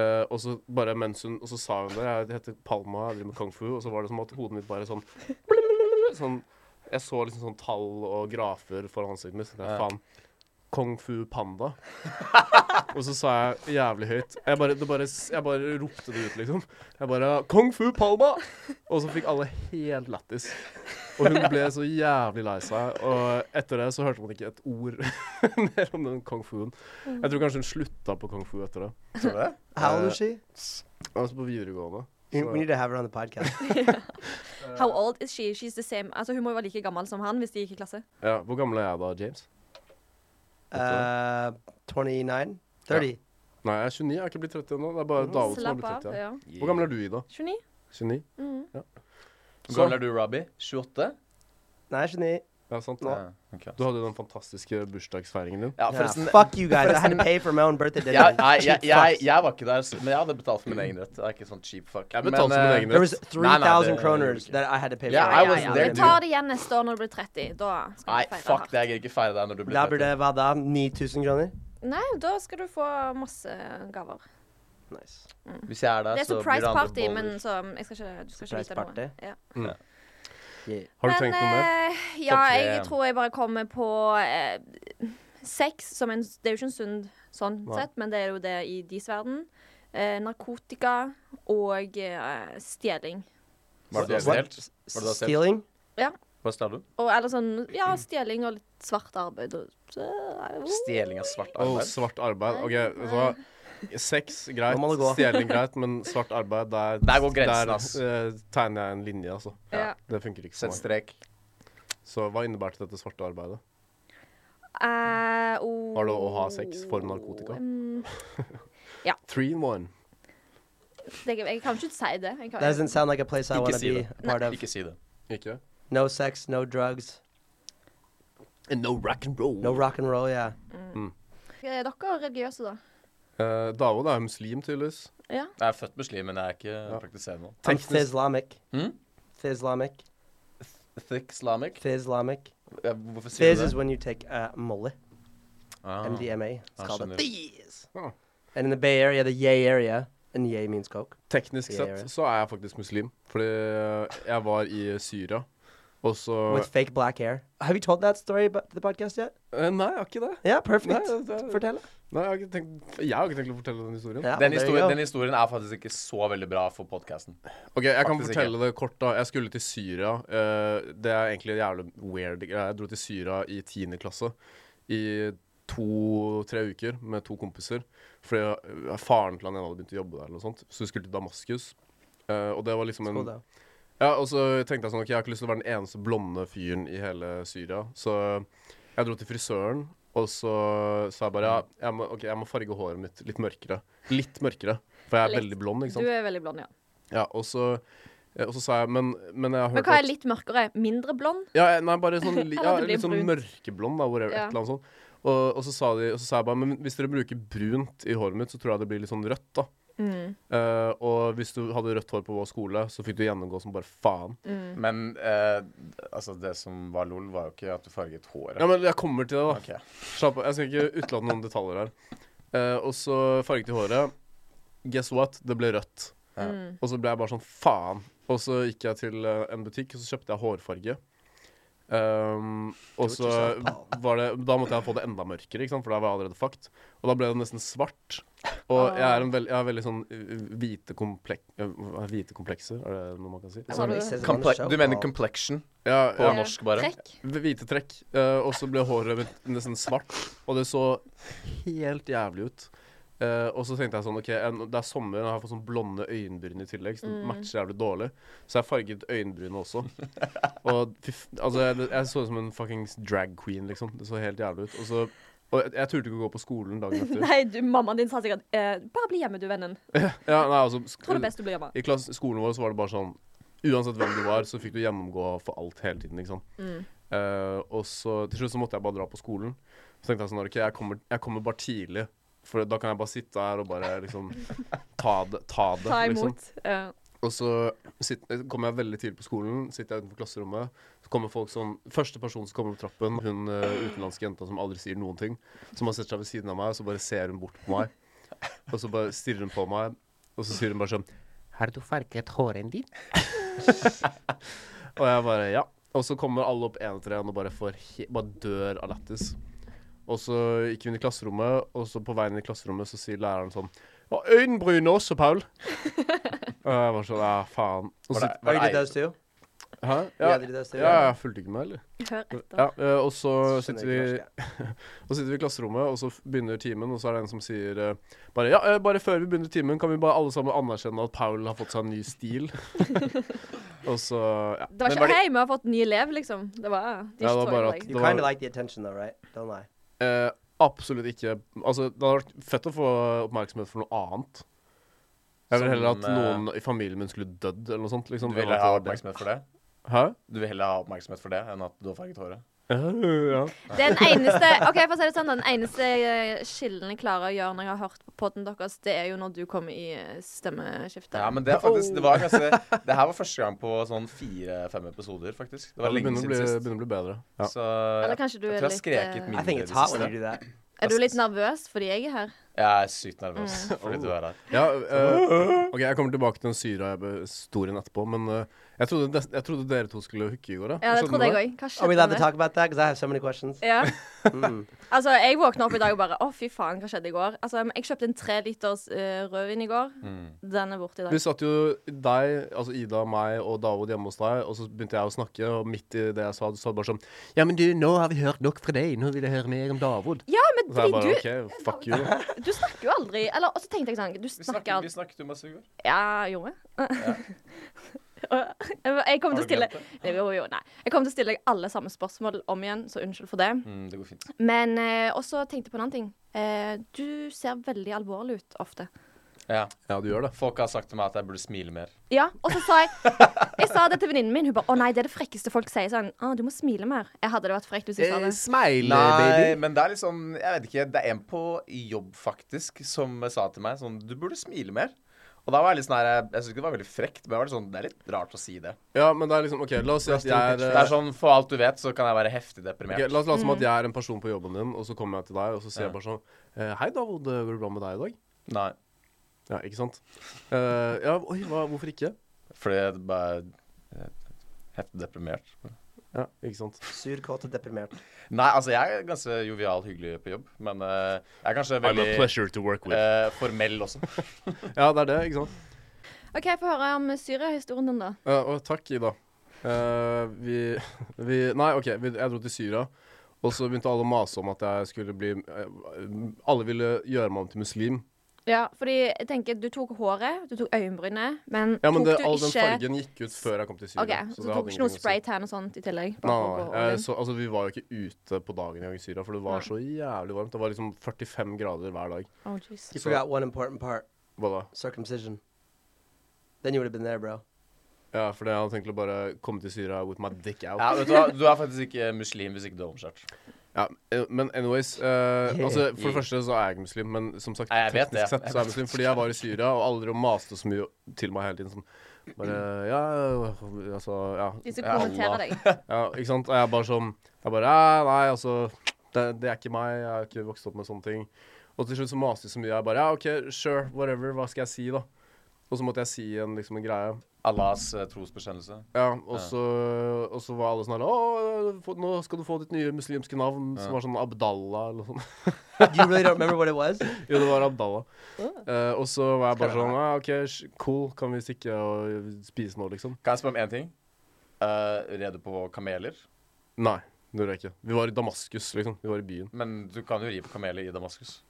Eh, og så bare mens hun Og så sa hun det. Jeg heter Palma, jeg driver med kung fu. Og så var det som at hodet mitt bare sånn [LAUGHS] Sånn Jeg så liksom sånn tall og grafer foran ansiktet mitt. Så tenkte jeg, Ja. faen. Kung fu panda. [LAUGHS] og så sa jeg jævlig høyt jeg bare, det bare, s- jeg bare ropte det ut, liksom. Jeg bare Kung fu palma! Og så fikk alle helt lættis. Og hun ble så jævlig lei seg. Og etter det så hørte man ikke et ord [LAUGHS] mer om den kung fuen. Jeg tror kanskje hun slutta på kung fu etter det. Tror du det? How old Uh, is she? Altså på videregående. We we need to have her on the podcast. How old is she? She's the same. Altså, hun må jo være like gammel som han hvis de gikk i klasse. Ja, Hvor gammel er jeg da, James? Uh, 29? 30. Nei, jeg er 29. Jeg er ikke blitt 30 ennå. Det er bare David som har Slapp blitt 30. av. Ja. Ja. Mm. Hvor gammel er du, Ida? 29? 29? Hvor gammel er du, Robbie? 28? Nei, 29. Ja, sant. Nå. Ja, ok. Du hadde jo den fantastiske bursdagsfeiringen din. Ja, Yeah, forresten fuck [LAUGHS] you guys. I had to pay for my own birthday dinner. jeg, nei, jeg, Cheap jeg, fucks. jeg var ikke der, så- men jeg hadde betalt for min egen rett. Jeg er ikke sånn cheap fuck. Jeg betalte Men, for min eh, egen rett. There was Nah, nah, 3,000 the- kroners that I had to pay Yeah, for. I was there Vi too. tar det igjen neste år når du blir 30. Da skal Nei, du feire fuck hardt. det. Jeg gidder ikke feire deg når du blir Da blir 30. det hva da? 9000 kroner? Nei, da skal du få masse gaver. Nice. Hvis jeg er der, Det er så blir det surprise andre party, boller. men så jeg skal ikke, du skal ikke Surprise vite party? noe. Ja. Yeah. Har du tenkt noe mer? eh, ja, Topp tre. jeg tror jeg bare kommer på eh, sex som en Det er jo ikke en sunn sånn Nei. sett, men det er jo det i deres verden. Eh, narkotika og eh, stjeling. Var det du har What? stjålet? Var det du har stjålet? Stealing? Hva stjal du? Og eller sånn Ja, Mm. stjeling og litt svart arbeid og så- eh, oh. Stjeling av svart Åh, arbeid? svart arbeid. OK, vet du hva. Sex, greit. Nå må det gå. Stjeling, greit. Men svart arbeid, der, Der går grensen, ass. Der eh, tegner jeg en linje, altså. Ja. Det funker ikke Sett for meg. strek. Så hva innebærte dette svarte arbeidet? Eh, oh. Var det å ha sex for narkotika? Mm, Um, Three in one. det, jeg kan ikke si det. Jeg kan, That sånn doesn't sound like a place I Ikke want to si be det. a part of. Ikke si det. Ikke? No sex, no drugs, And no rock and roll. no rock and roll, yeah. Er Eh, dere religiøse, da? Eh, Daoud er muslim, tydeligvis. Ja. Jeg er født muslim, men jeg er ikke praktiserende. I'm Teknisk- Thislamic. Hmm? Thislamic. Thick Islamic? Thislamic. Ja, Hvorfor sier Fizz du is det? when you take uh, mullet, Ah. MDMA. It's Ah, called a sure. fizz. Oh. And in the Bay Area, the yay area, and yay means coke. Teknisk Ja, ja. sett så er jeg faktisk muslim, fordi jeg var i Syria, og så With fake black hair. Have you told that story about the podcast yet? Eh, Nei, jeg har ikke det. Yeah, perfect. No, that- Fortell. Nei, jeg, har ikke tenkt, jeg har ikke tenkt å fortelle den historien. Den, Yeah, well, there you historien, go. den historien er faktisk ikke så veldig bra for podkasten. Ok, Jeg kan Faktisk fortelle det kort. da Jeg skulle til Syria. eh, det er egentlig jævlig weird. Jeg dro til Syria i 10. klasse i to-tre uker med to kompiser. Fordi eh, faren til han ene hadde begynt å jobbe der, eller noe sånt så vi skulle til Damaskus. Eh, og det var liksom en Skål, da. Ja, og så tenkte jeg sånn, ok, jeg har ikke lyst til å være den eneste blonde fyren i hele Syria. Så jeg dro til frisøren, og så sa jeg bare, ja, jeg må, ok, jeg må farge håret mitt litt mørkere. Litt mørkere, for jeg er Litt. veldig blond, ikke Du sant? er veldig blond, ja. Ja, og så, eh, og så sa jeg, men, men jeg har hørt... Men hva at- er litt mørkere? Mindre blond? ja, jeg- nei, bare [LAUGHS] sånn, li, Eller ja, at det blir litt sånn brunt. mørkeblond, da, whatever, Ja. et eller annet sånt. Og, og, så sa de, og så sa jeg bare, men hvis dere bruker brunt i håret mitt, så tror jeg det blir litt sånn rødt, da. Mm. Eh, og hvis du hadde rødt hår på vår skole, så fikk du gjennomgå som bare faen. Men eh, altså, det som var lol, var jo ikke at du farget håret. Ja, men jeg kommer til det, da. Ok. Slapp av, jeg skal ikke utelate noen detaljer her. Eh, og så farget jeg håret. Guess what? Det ble rødt. Ja. Og så ble jeg bare sånn faen. Og så gikk jeg til eh, en butikk, og så kjøpte jeg hårfarge. Ehm, og så var det Da måtte jeg få det enda mørkere, ikke sant? for da var jeg allerede fucked. Og da ble det nesten svart. Og jeg er en veld, jeg har veldig sånn eh, hvite, komplek, eh, hva er hvite komplekser, er det noe man kan si? That's Sa what du he det? says on the Komple show. du mener Wow. complexion Ja, på ja, norsk, bare? Eh, Trekk? hvite trekk. Eh, og så ble håret mitt nesten svart, og det så helt jævlig ut. Eh, og så tenkte jeg sånn OK, en- det er sommer, og jeg har fått sånn blonde øyenbryn i tillegg. Så Mm. det matcher jævlig dårlig. Så jeg farget øyenbrynene også. Og fy f- Altså, jeg, jeg så ut som en fuckings drag queen, liksom. Det så helt jævlig ut. Og så Og jeg, jeg turte ikke å gå på skolen dagen [LAUGHS] etter. [LAUGHS] Nei, du, mammaen din sa sikkert eh, 'Bare bli hjemme, du, vennen'. Ja, nei, altså sk- Tror det er best du blir hjemme. I klass, skolen vår så var det bare sånn Uansett hvem du var, så fikk du gjennomgå for alt hele tiden. ikke sant? Mm. Eh, og så til slutt så måtte jeg bare dra på skolen. Så tenkte jeg sånn OK, jeg kommer, jeg kommer bare tidlig. For da kan jeg bare sitte her og bare liksom ta det. Ta, det, Ta Liksom. imot. eh, Og så sitt- kommer jeg veldig tidlig på skolen, sitter jeg utenfor klasserommet. Så kommer folk sånn Første person som kommer opp trappen, hun eh, utenlandske jenta som aldri sier noen ting. Som har sett seg ved siden av meg, og så bare ser hun bort på meg. Og så bare stirrer hun på meg, og så sier hun bare sånn Har du farget håren din? [LAUGHS] Og jeg bare ja. Og så kommer alle opp én etter én og bare, får he bare dør av lættis. Og så gikk vi inn i klasserommet, og så på veien inn i klasserommet så sier læreren sånn Ja, øyenbrynene også, Paul. og jeg var sånn Ja, faen. Og Var så, det, Oh, var you det did ei- those too? hæ? You Ja, had to do those too? ja, jeg fulgte ikke med, eller? hør etter. Ja, eh, og så Skjønner sitter ikke vi norsk, jeg. Og sitter vi i klasserommet, og så f- begynner timen, og så er det en som sier eh, bare Ja, eh, bare før vi begynner timen, kan vi bare alle sammen anerkjenne at Paul har fått seg en ny stil? og så Ja. Det var Men ikke var det- 'hei, vi har fått ny elev', liksom. Det var, de Ja, det var så bare jo at- deg. Det You var- kind of like the attention though, right? Don't lie. Eh, absolutt ikke. Altså, det hadde vært fett å få oppmerksomhet for noe annet. Jeg Som, ville heller at eh, noen i familien min skulle dødd, eller noe sånt. Liksom, Du vil enn at ha det var det. oppmerksomhet for det? Hæ? Du vil heller ha oppmerksomhet for det enn at du har farget håret? Eh, ja. Den eneste Ok, for å si det sånn da, Den eneste eh, skillen jeg klarer å gjøre når jeg har hørt på podden deres, det er jo når du kommer i eh, stemmeskiftet. Ja, men det, er faktisk, det var kanskje Det her var første gang på sånn fire-fem episoder, faktisk. Det Det var lenge begynner, å bli, siden sist. begynner å bli bedre. Ja. Så Eller jeg, kanskje du jeg tror er jeg har litt skreket eh, mindre I think i it's det hot when siste. you do that. altså- Er du litt nervøs fordi jeg er her? Jeg er sykt nervøs Mm. fordi du er her. Ja, eh, OK, jeg kommer tilbake til den syra-historien etterpå, men eh, jeg, trodde des, jeg trodde dere to skulle hooke i går, Ja, det Skjønner trodde du jeg òg. Hva Are we skjedde allowed to talk about that? Because I have so many questions. Ja. [LAUGHS] Mm. Altså, jeg våkna opp i dag og bare Å, fy faen, hva skjedde i går? Altså, jeg kjøpte en tre liters eh, rødvin i går. Mm. Den er borte i dag. Vi satt jo deg, altså Ida, meg og David hjemme hos deg, og så begynte jeg å snakke, og midt i det jeg sa, du sa bare sånn Ja, men du, nå har vi hørt nok fra deg. Nå vil jeg høre mer om Davod. Ja, Så men jeg fordi bare du, OK, fuck you. du snakker jo aldri Eller og så tenkte jeg sånn Du Vi snakker snakket, aldri vi snakket jo masse i går. Ja, gjorde jeg? Og [LAUGHS] jeg kommer til å Har du stille glemt det? Nei, jo, jo, nei. Jeg kommer til å stille deg alle samme spørsmål om igjen, så unnskyld for det. Mm, det går fint. Men eh, også tenkte jeg på en annen ting. Eh, du ser veldig alvorlig ut ofte. Ja. Ja, du gjør det. Folk har sagt til meg at jeg burde smile mer. Ja, og så sa jeg Jeg sa det til venninnen min. Hun bare 'Å nei, det er det frekkeste folk sier.' Sånn 'Å, du må smile mer'. Jeg hadde det vært frekt hvis jeg sa Eh, det. smile, Nei, baby. men det er liksom Jeg vet ikke. Det er en på jobb, faktisk, som sa til meg sånn Du burde smile mer. Og da var jeg litt sånn her Jeg, jeg syns ikke det var veldig frekt, men jeg var litt sånn, det er litt rart å si det. Ja, men det er liksom OK, la oss si at jeg er, Det eh, er sånn for alt du vet, så kan jeg være heftig deprimert. ok, La oss late Mm. som at jeg er en person på jobben din, og så kommer jeg til deg, og så sier Ja. jeg bare sånn eh, Hei, David. eh, Går det bra med deg i dag? Nei. Ja, ikke sant? Eh, ja, oi, hva, hvorfor ikke? Fordi det bare jeg er Heftig deprimert. Ja, ikke sant? Sur, kåt og deprimert. Nei, altså jeg er ganske jovial, hyggelig på jobb, men eh, jeg er kanskje veldig pleasure to work eh, formell også. Ja, det er det, ikke sant? OK, få høre om Syria-historien din, da. Eh, og takk, Ida. Eh, vi, vi Nei, OK. Vi, jeg dro til Syria. Og så begynte alle å mase om at jeg skulle bli eh, Alle ville gjøre meg om til muslim. Ja, fordi jeg tenker du tok håret, du tok øyenbrynet, men, Ja, men tok det, du all den ikke fargen gikk ut før jeg kom til Syria. OK, så, det hadde du tok ikke noe ingenting å si. spraytan og sånt i tillegg? Nei, Bare for nei, å gå nei. Eh, all in? Så, altså, vi var jo ikke ute på dagen engang i Syria, for det var så jævlig varmt. Det var liksom 45 grader hver dag. Oh, jeez. You forgot one important part Hva da? circumcision. Then you would have been there, bro. [LAUGHS] Ja, for jeg hadde tenkt å bare komme til Syria with my dick out. Ja, vet du hva, du er faktisk ikke muslim hvis ikke du er omskjært. Ja, eh, men anyways eh, altså, For det første så er jeg ikke muslim, men som sagt, Nei, jeg vet teknisk det. sett så er jeg muslim. Fordi jeg var i Syria, og alle drev og maste så mye til meg hele tiden. Sånn bare Ja, altså Ja, De som Ja, kommenterer [LAUGHS] Allah. deg. ja ikke sant? Og jeg bare sånn Jeg bare ja, Nei, altså det, det er ikke meg. Jeg har ikke vokst opp med sånne ting. Og til slutt så maste de så mye. Jeg bare Ja, OK, sure, whatever. Hva skal jeg si, da? Og så måtte jeg si en, liksom, en greie. Allahs eh, trosbekjennelse. Ja, og så, og så var alle sånn her Å, få- nå skal du få ditt nye muslimske navn, som var sånn Abdallah eller noe sånt. You really don't remember what it was? Jo, det var Abdallah. Eh, og så var jeg bare sånn ah, OK, sh- cool, kan vi stikke og spise nå, liksom? Kan jeg spørre om én ting? Eh, rede på kameler? Nei, det gjorde jeg ikke. Vi var i Damaskus, liksom. Vi var i byen. Men du kan jo ri på kameler i Damaskus.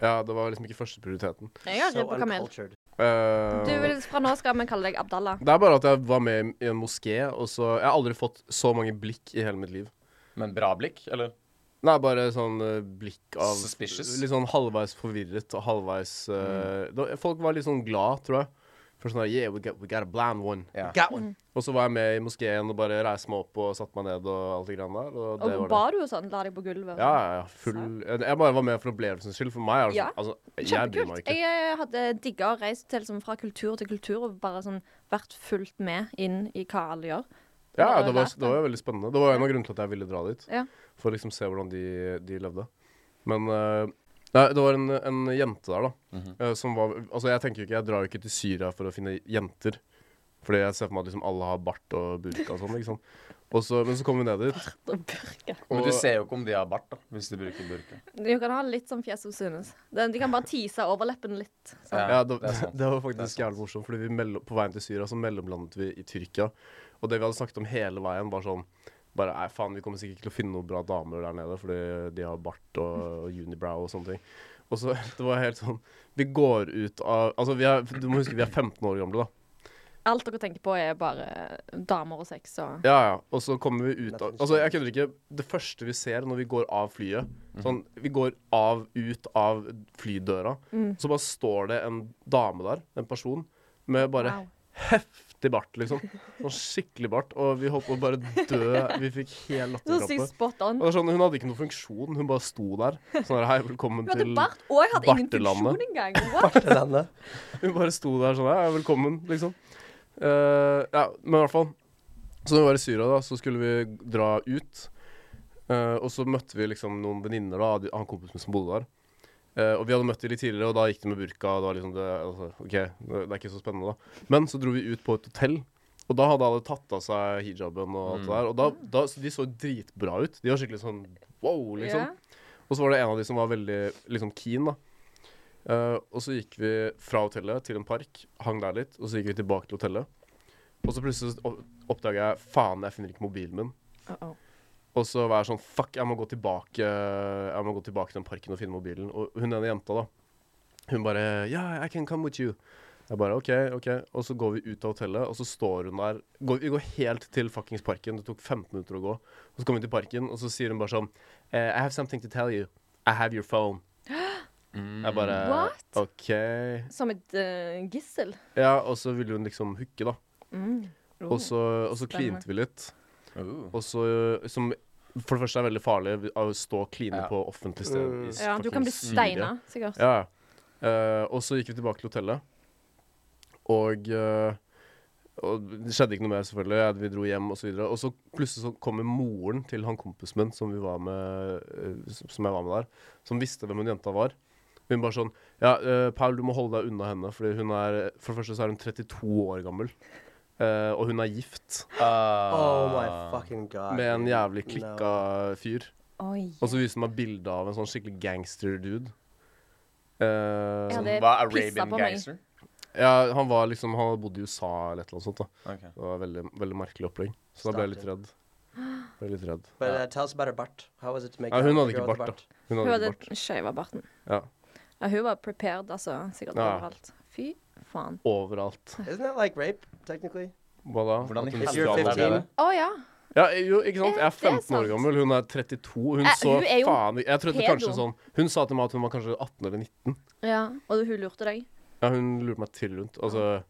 Ja, det var liksom ikke førsteprioriteten. Jeg har so ridd på kamel. uncultured. Uh, Du, fra nå skal vi kalle deg Abdallah. det er bare at jeg var med i en moské, og så Jeg har aldri fått så mange blikk i hele mitt liv. Men bra blikk, eller? Nei, bare sånn eh, blikk av Suspicious? Mm. Litt sånn halvveis forvirret og halvveis eh, da- Folk var litt sånn glad, tror jeg. For sånn der, Yeah, we got, we got a blind one. Ja. Got one. Og så var jeg med i moskeen og bare reiste meg opp og satte meg ned og alt det greiene der. Og det Og var det. ba du og sånn? La deg på gulvet? og Ja, sånn. ja, ja. Full Jeg bare var med for opplevelsens skyld. For meg er det Ja. sånn Altså, jeg bryr meg Kjempekult. ikke. Jeg eh, hadde digga å reise til liksom, fra kultur til kultur og bare sånn vært fullt med inn i hva alle gjør. Ja, hadde det var, lært det var jo veldig spennende. Det var en av grunnene til at jeg ville dra dit. Ja. For å liksom se hvordan de, de levde. Men eh, Nei, det var en, en jente der, da. eh, som var Altså, jeg tenker jo ikke Jeg drar jo ikke til Syria for å finne jenter. Fordi jeg ser for meg at liksom alle har bart og burka og sånn. ikke sant? Og så, men så kom vi ned dit. Men Og- du ser jo ikke om de har bart, da, hvis de bruker burke. Du kan ha litt sånn fjes som synes. De, de kan bare tease overleppen litt. Sånn. Ja, Ja, det, det er sant. det var Det er faktisk sant. jævlig morsomt, fordi vi mellom, på veien til Syria så mellomlandet vi i Tyrkia. Og det vi hadde snakket om hele veien, var sånn bare, Nei, faen, vi kommer sikkert ikke til å finne noen bra damer der nede, fordi de har bart og, og unibrow og sånne ting. Og så [LAUGHS] Det var helt sånn Vi går ut av Altså, vi er, du må huske vi er 15 år gamle, da. Alt dere tenker på, er bare damer og sex og Ja, ja. Og så kommer vi ut av Altså, jeg kødder ikke. Det første vi ser når vi går av flyet Mhm. Sånn, Vi går av, ut av flydøra, så bare står det en dame der, en person, med bare Wow. heftig bart, liksom. Sånn skikkelig bart. Og vi holdt på å bare dø. Vi fikk hel Så sykt latterkrampe. spot Og on. det er Sånn, hun hadde ikke noen funksjon, hun bare sto der. Sånn her, hei, velkommen Du hadde til bart, og jeg hadde ingen bartelandet. funksjon engang. [LAUGHS] What? Til denne. Hun bare sto der sånn, ja, velkommen, liksom. Eh, ja, men i hvert fall. Så når vi var i Syria, da, så skulle vi dra ut. Eh, og så møtte vi liksom noen venninner da, av de- han kompisen som bodde der. Eh, og vi hadde møtt de litt tidligere, og da gikk de med burka. Og det var liksom det, altså, ok, det, det er ikke så spennende da. Men så dro vi ut på et hotell, og da hadde alle tatt av seg hijaben og alt det der. Og da, da, så de så dritbra ut. De var skikkelig sånn wow, liksom. Ja. Og så var det en av de som var veldig liksom keen, da. Eh, og så gikk vi fra hotellet til en park, hang der litt, og så gikk vi tilbake til hotellet. Og så plutselig så opp- oppdaga jeg faen, jeg finner ikke mobilen min. Uh-oh. Og så var jeg sånn fuck, jeg må gå tilbake Jeg må gå tilbake til den parken og finne mobilen. Og hun ene jenta, da, hun bare Yeah, I can come with you. Jeg bare OK, OK. Og så går vi ut av hotellet, og så står hun der går, Vi går helt til fuckings parken. Det tok 15 minutter å gå. Og så kommer vi til parken, og så sier hun bare sånn eh, I have something to tell you. I have your phone. Jeg bare What? OK. Som et eh, gissel. Ja, og så ville hun liksom hooke, da. Mm. Og så, og så Spennende. klinte vi litt. Uh. Og så Som for det første er veldig farlig å stå og kline Ja. på offentlig sted. i Mm. Ja, du kan bli fucking Syria. steina, sikkert. Ja. Eh, og så gikk vi tilbake til hotellet. Og, eh, og det skjedde ikke noe mer, selvfølgelig. Ja, Vi dro hjem og så videre. Og så plutselig så kommer moren til han kompisen min som, vi var med, eh, som- som jeg var med der, som visste hvem hun jenta var. Hun bare sånn Ja, eh, Paul, du må holde deg unna henne, fordi hun er For det første så er hun 32 år gammel. Eh, og hun er gift Oh Ah. my fucking god. med en dude. jævlig No. klikka fyr. Oi. Og så viser hun meg bilde av en sånn skikkelig gangster-dude. Eh, Ja, Sånn, det hva pisset Arabian på meg. gangster? Ja, han var liksom Han hadde bodd i USA eller et eller annet sånt. da Ok. Det var veldig, veldig merkelig opplegg. Så da ble jeg litt redd. Ble litt redd But ja. uh, tell us about her bart. How was it to make Ja, out hun with hadde a ikke girl with a bart, da. Hun Hun hadde hadde bart. skeiva barten. Ja. Ja, hun var prepared, altså. Sikkert Ja. overalt. Fy faen. Overalt. Isn't that like rape, technically? Hva da? Hvordan i At hun If helvete ikke you're er det hadde- 15, Å ja. Ja, jo, ikke sant? Jeg er Ja, Eh, det er 15 år sant. gammel, hun er 32. Hun Eh, så hun er jo faen Jeg trodde kanskje pedo. sånn Hun sa til meg at hun var kanskje 18 eller 19. ja. Og hun lurte deg. Ja, hun lurte meg til rundt. Altså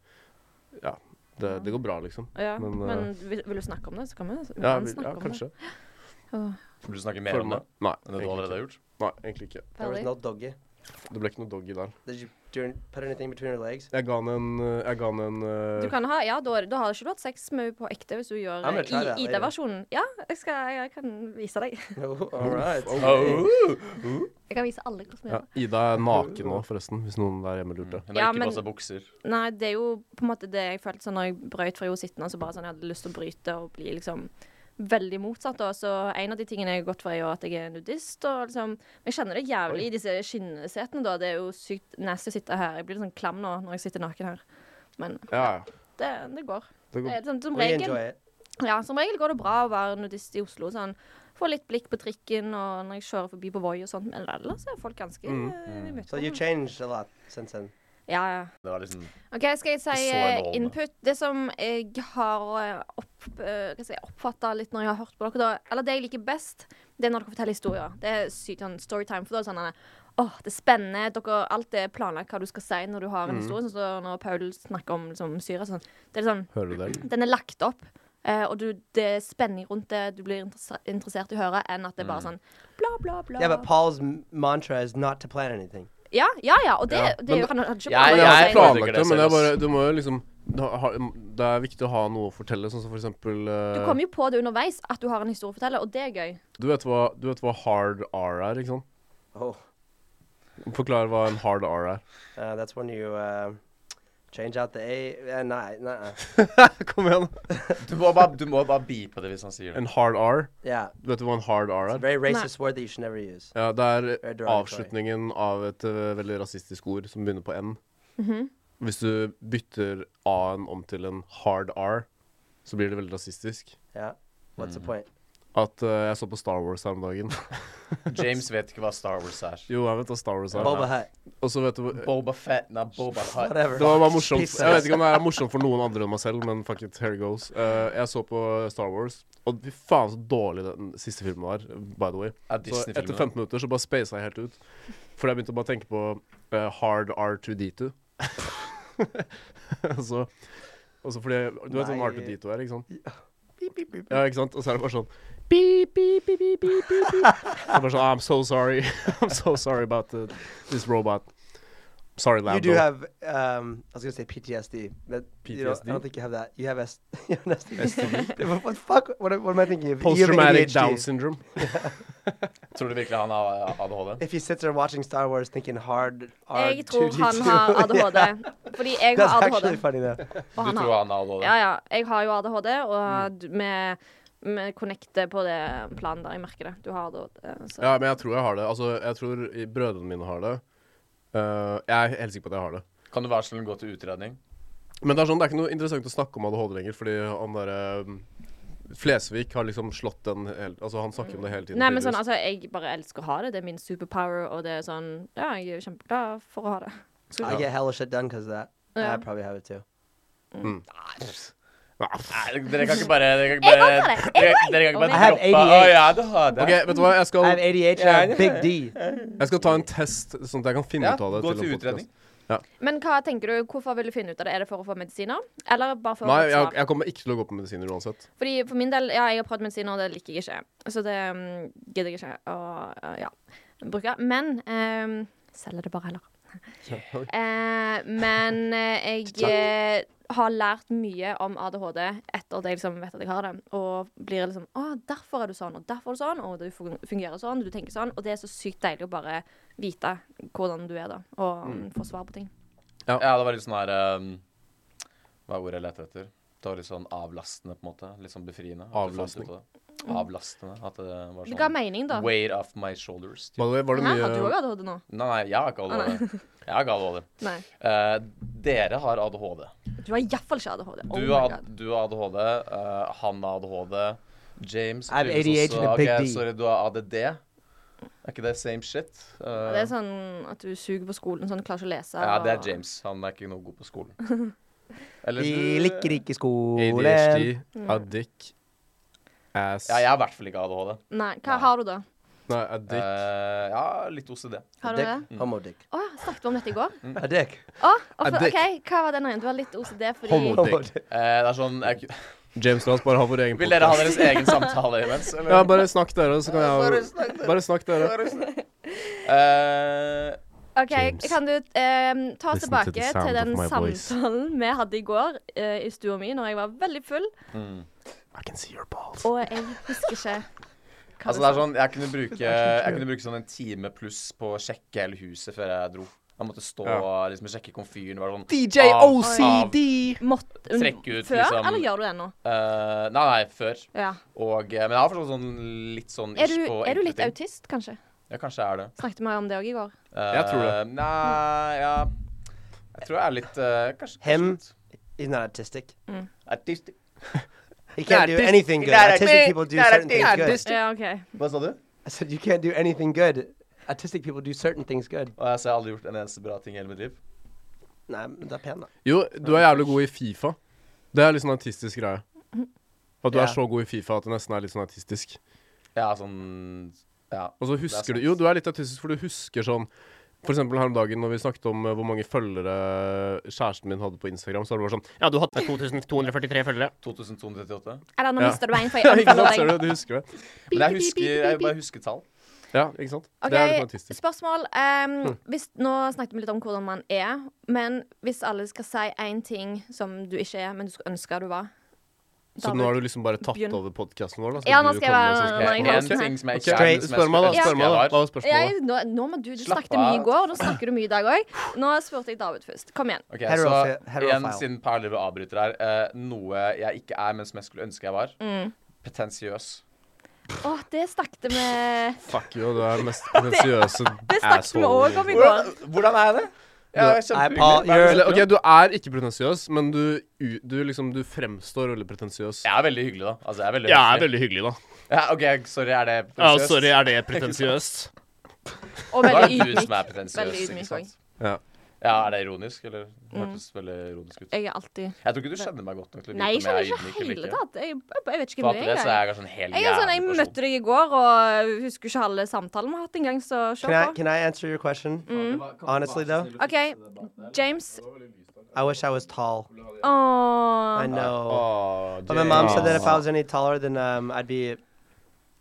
Ja. Det, det går bra, liksom. Ja. Men, Men, eh, vil, vil du snakke om det, så kan vi, vi Ja, kan vi- snakke ja om kanskje. Vil du snakke mer Føler om det meg Nei, enn det du allerede egentlig ikke. har gjort? Nei, egentlig ikke. det. there was Ferdig. no doggy. Det ble ikke noe doggy der. Did you do, put anything between her legs? [LAUGHS] Jeg ga henne en eh, Jeg ga henne en eh, Du kan ha, ja, da, da har ikke du hatt sex med henne på ekte hvis du gjør I'm gonna eh, try that i- later. Ida-versjonen. Ja, jeg, skal, jeg kan vise deg. No, all right. oh. Jeg kan vise alle hvordan vi uh, Ja, gjør det. Ida er naken nå, forresten, hvis noen der hjemme lurte. Hun har Ja, ikke men- på seg bukser. Nei, det er jo på en måte det jeg følte sånn når jeg brøyt fra henne sittende, så bare sånn jeg hadde lyst til å bryte og bli liksom veldig motsatt. da. så en av de tingene jeg har gått for, er jo at jeg er nudist. og liksom, men Jeg kjenner det jævlig i disse skinnsetene, da. Det er jo sykt nasty å sitte her. Jeg blir litt sånn klam nå når jeg sitter naken her. Men Ja, ja. det, det går. Det Det går, er sånn, som We regel enjoy it. Ja, som regel går det bra å være nudist i Oslo. Sånn. Få litt blikk på trikken og når jeg kjører forbi på Voi og sånt. Men ellers er folk ganske Mm. eh, So you imøtekommende. changed a lot since then. Ja, ja. Det var liksom OK, skal jeg si så eh, enorme. input? Det som jeg har eh, opp, eh, hva skal jeg si, oppfatta litt når jeg har hørt på dere, da, eller det jeg liker best, det er når dere forteller historier. Det er sykt sånn storytime. For da er det sånn eh, Åh, det er spennende. Dere, alt er planlagt hva du skal si når du har Mhm. en historie. Sånn som når Paul snakker om liksom, Syria. Sånn. Det er sånn hører du det? den er lagt opp, eh, og du, det er spenning rundt det. Du blir interesse- interessert i å høre, enn at det Mhm. er bare sånn bla, bla, bla. Yeah, but Paul's m- mantra is not to plan anything. ja, ja, ja, og det, Ja, det men- er jo han hadde ikke Ja, Nei, Nei, planlagt jeg har det. jeg planlagt tenker det, det men det er selv, bare, ass. du må jo liksom da har- Det er viktig å ha noe å fortelle, sånn som for eksempel eh, Du kommer jo på det underveis at du har en historie å fortelle, og det er gøy. du, vet hva, du vet hva hard R er, ikke sant? Oh, Forklar hva en hard R er. uh, that's when you uh, change out the A. Uh, nah, [LAUGHS] nah. Kom igjen. Du må bare, du må bare beepe det hvis han [LAUGHS] sier det. En hard R. Yeah, Vet du hva en hard R it's a er? very racist word that you should never use. Ja, det Very er derogatory. avslutningen av et eh, veldig rasistisk ord som begynner på N. Hvis du bytter A-en om til en hard R, så blir det veldig rasistisk. Yeah. What's Mm. the point? At eh, jeg så på Star Wars her om dagen. [LAUGHS] James vet ikke hva Star Wars er. Jo, jeg vet hva Star Wars er. Boba Hut. Og så vet du hvor- Boba Fett, nei, Boba Hutt. Whatever. Det var bare morsomt. Piss Jeg vet ass. ikke om det er morsomt for noen andre enn meg selv, men fuck it, here it goes. Eh, jeg så på Star Wars, og fy faen så dårlig den siste filmen var, by the way. Er Så etter Disney-filmen. 15 minutter så bare spasa jeg helt ut. Fordi jeg begynte å bare tenke på eh, Hard R2D2. [LAUGHS] Og så og så fordi Du vet sånn Nei. R2D2 er, ikke sant? Ja, ikke sant? Og så er det bare sånn Beep, beep, beep, beep, beep, beep. Så er det bare sånn I'm so sorry. [LAUGHS] I'm so sorry about the, this robot. Sorry, You Lando. do have, um, I was going to say PTSD. But You don't, I PTSD? don't think you have that. You have S- [LAUGHS] you have an STD. [LAUGHS] what, what, fuck, what, am- what am I thinking of? You have Post-traumatic ADHD. down syndrome. Tror du virkelig han har eh, ADHD? If he sits there watching Star Wars thinking hard, hard Jeg tror han [LAUGHS] har ADHD. Fordi jeg That's har actually ADHD, funny though. og Du han tror har han har ADHD? Ja, ja. Jeg har jo ADHD, og du- vi vi connecter på det planen der. Jeg merker det. Du har ADHD. eh, Så. Ja, men jeg tror jeg har det. Altså, jeg tror i- brødrene mine har det. Eh, jeg er helt sikker på at jeg har det. Kan du være så snill å gå til utredning? Men det er sånn, det er ikke noe interessant å snakke om ADHD lenger, fordi han derre mm, Flesvig har liksom slått den hele Altså, han snakker om det hele tiden. Nei, men sånn, tydeligvis. altså, jeg bare elsker å ha det. Det er min superpower, og det er sånn Ja, jeg er kjempeglad for å ha det. I get hella shit done because of that. Ja. I probably have it too. altså- Ah, Nei, dere kan ikke bare Dere kan ikke Jeg bare, hater det. Jeg dere, dere kan ikke Jeg bare har droppe Å ADHD. ja, du har det. OK, vet du hva? Jeg skal, I have ADHD and I have Big D. jeg skal ta en test, sånn at jeg kan finne Ja, ut av det. gå en til podcast. utredning. Men hva tenker du, hvorfor vil du finne ut av det? Er det for å få medisiner? Eller bare for Nei, å få et jeg, svar? jeg kommer ikke til å gå på medisiner uansett. Fordi For min del, ja, jeg har prøvd medisiner, og det liker jeg ikke. Så det mm, gidder jeg ikke å eh, ja, bruke. Men um, Selger det bare heller. Eh, men eh, jeg eh, har lært mye om ADHD etter at jeg liksom vet at jeg har det. Og blir liksom Å, derfor er du sånn, og derfor er du sånn, og du fun- fungerer sånn, og du tenker sånn. Og det er så sykt deilig å bare vite hvordan du er, da, og mm, få svar på ting. Ja, det var litt sånn her um, Hva er ordet jeg leter etter? Det var litt sånn avlastende, på en måte. Litt sånn befriende. at du fant ut Avlastning. av det. Avlastende. At det var Det ga sånn mening, da. Weight off my shoulders. Typ. By the way, var det Hæ, mye har du òg ADHD nå? Nei, nei, jeg har ikke nei. ADHD. Jeg har ikke ADHD. Nei. Eh, dere har ADHD. Du har iallfall ikke ADHD. Oh Du my har, God. du har ADHD. eh, han har ADHD. James I have tydeligvis ADHD and a også. big Ok, D. Sorry, du har ADD. Er ikke det same shit? Eh, Det er sånn at du suger på skolen, sånn klarer ikke å lese. ja, det og- er James. Han er ikke noe god på skolen. [LAUGHS] Eller Vi du- liker ikke skolen. ADHD, addict, ass Ja, jeg har i hvert fall ikke ADHD. Nei, hva har du da? Nei, addict. Eh, ja, litt OCD. Har du det? Dick. Homo dick. Å, snakket vi om dette i går? Mm. A dick. Å, og for, Addict. ok, Hva var den ene? Du har litt OCD fordi Homo. [LAUGHS] Homo Dick. dick. Eh, det er sånn jeg, James, la oss bare ha vår egen Vil dere ha podcast. deres egen samtale [LAUGHS] imens, eller? Ja, bare snakk dere, så kan jeg Bare snakk dere. Eh, Ok, James. Kan du ehm, ta Listen oss to tilbake the til, sound den of my voice. samtalen vi hadde i går eh, i stua mi når jeg var veldig full, I can see your balls. og jeg husker ikke hva altså, det du sa. er sånn Jeg [LAUGHS] kunne bruke, jeg kunne bruke sånn en time pluss på å sjekke hele huset før jeg dro. Jeg måtte stå Ja. og liksom sjekke komfyren. Var sånn, DJ Av- OCD! Mått, Trekk ut, før, liksom. eller gjør du det ennå? eh, nei, nei, før. Ja. Og, eh, men jeg har forstått sånn litt sånn Er, ish du, på er du enkelte litt ting. autist, kanskje? Ja, kanskje jeg er det. Snakket vi om det òg i går? Eh, Jeg tror det. Nei, ja Jeg tror jeg er litt eh, Kanskje Him? He's not autistic. Artist. He can't do Not autistic. anything good. Not Autistic autistic. people do Not certain things autistic. good. Ja, OK. Hva sa du? I said you can't do anything good. Autistic people do certain things good. Og jeg så jeg har aldri gjort en eneste bra ting i hele mitt liv. Nei, men det er pen, da. Jo, du er jævlig god i Fifa. Det er litt sånn artistisk greie. At du Ja. er så god i Fifa at det nesten er litt sånn artistisk. Ja, sånn Ja. Og Det så er husker du sant. Jo, du er litt autistisk, for du husker sånn for eksempel her om dagen når vi snakket om eh, hvor mange følgere kjæresten min hadde på Instagram, så var det bare sånn Ja, du hadde 2243 følgere. 2238. Eller nå Ja. mister du en, [LAUGHS] for jeg Ja, ikke anfaller sant, ser deg. du? Du husker det. Men jeg husker Jeg bare husker tall. Ja, ikke sant? Det er litt Hm. sånn Ok, artistisk. spørsmål. Ehm, hvis, nå snakket vi litt om hvordan man er, men hvis alle skal si én ting som du ikke er, men du skulle ønske du var Så nå har du liksom bare tatt over podkasten vår? Da, så Ja, nå du skal jeg kommer med være- sånn- Nei, jeg har En ikke- ting som jeg ikke Ok, er, men som jeg Spør meg, skulle da. Spør ønske meg, da. jeg var. Hva var spørsmålet? jeg, nå, nå må du, du Slapp snakket mye i av. går, og nå snakker du mye i dag òg. Nå spurte jeg David først. Kom igjen. Ok, Heterofi- så igjen, heterofile. siden Per Live avbryter her, eh, noe jeg ikke er, men som jeg skulle ønske jeg var. Mm. Petensiøs. Å, det snakket vi Fuck you, du er den mest potensiøse Det snakket vi òg om asshole. i går. Hvordan, hvordan er jeg det? Jeg er Nei, Paul, kjempehyggelig. Hva er det du you're- Eller, snakker om? OK, du er ikke pretensiøs, men du, u- du liksom Du fremstår veldig pretensiøs. Jeg er veldig hyggelig, da. Altså, jeg er veldig Ja, jeg er høflig. veldig hyggelig, da. Ja, OK, sorry, er det Ja, pretensiøst? sorry, er det pretensiøst? Og Da er det veldig du som ydmyk. er pretensiøs, Veldig ikke ydmyk sant? Ja. Ja, er det ironisk, eller? Det hørtes veldig ironisk ut. Jeg er alltid Jeg tror ikke du kjenner meg godt nok til å Nei, jeg vite om skjønner jeg er ydmyk ikke eller hele ikke. tatt. Jeg, jeg, jeg vet ikke hvem Fatter du det, er. så er jeg kanskje en hel Jeg, er sånn, jævlig jeg person. møtte deg i går og husker ikke halve samtalen vi har hatt engang, så se Can I, på. can I answer your question? Honestly, though, OK, James. I wish I was tall. Åh. I know. Åh, But my mom James. said that if I was any taller, then um, I'd be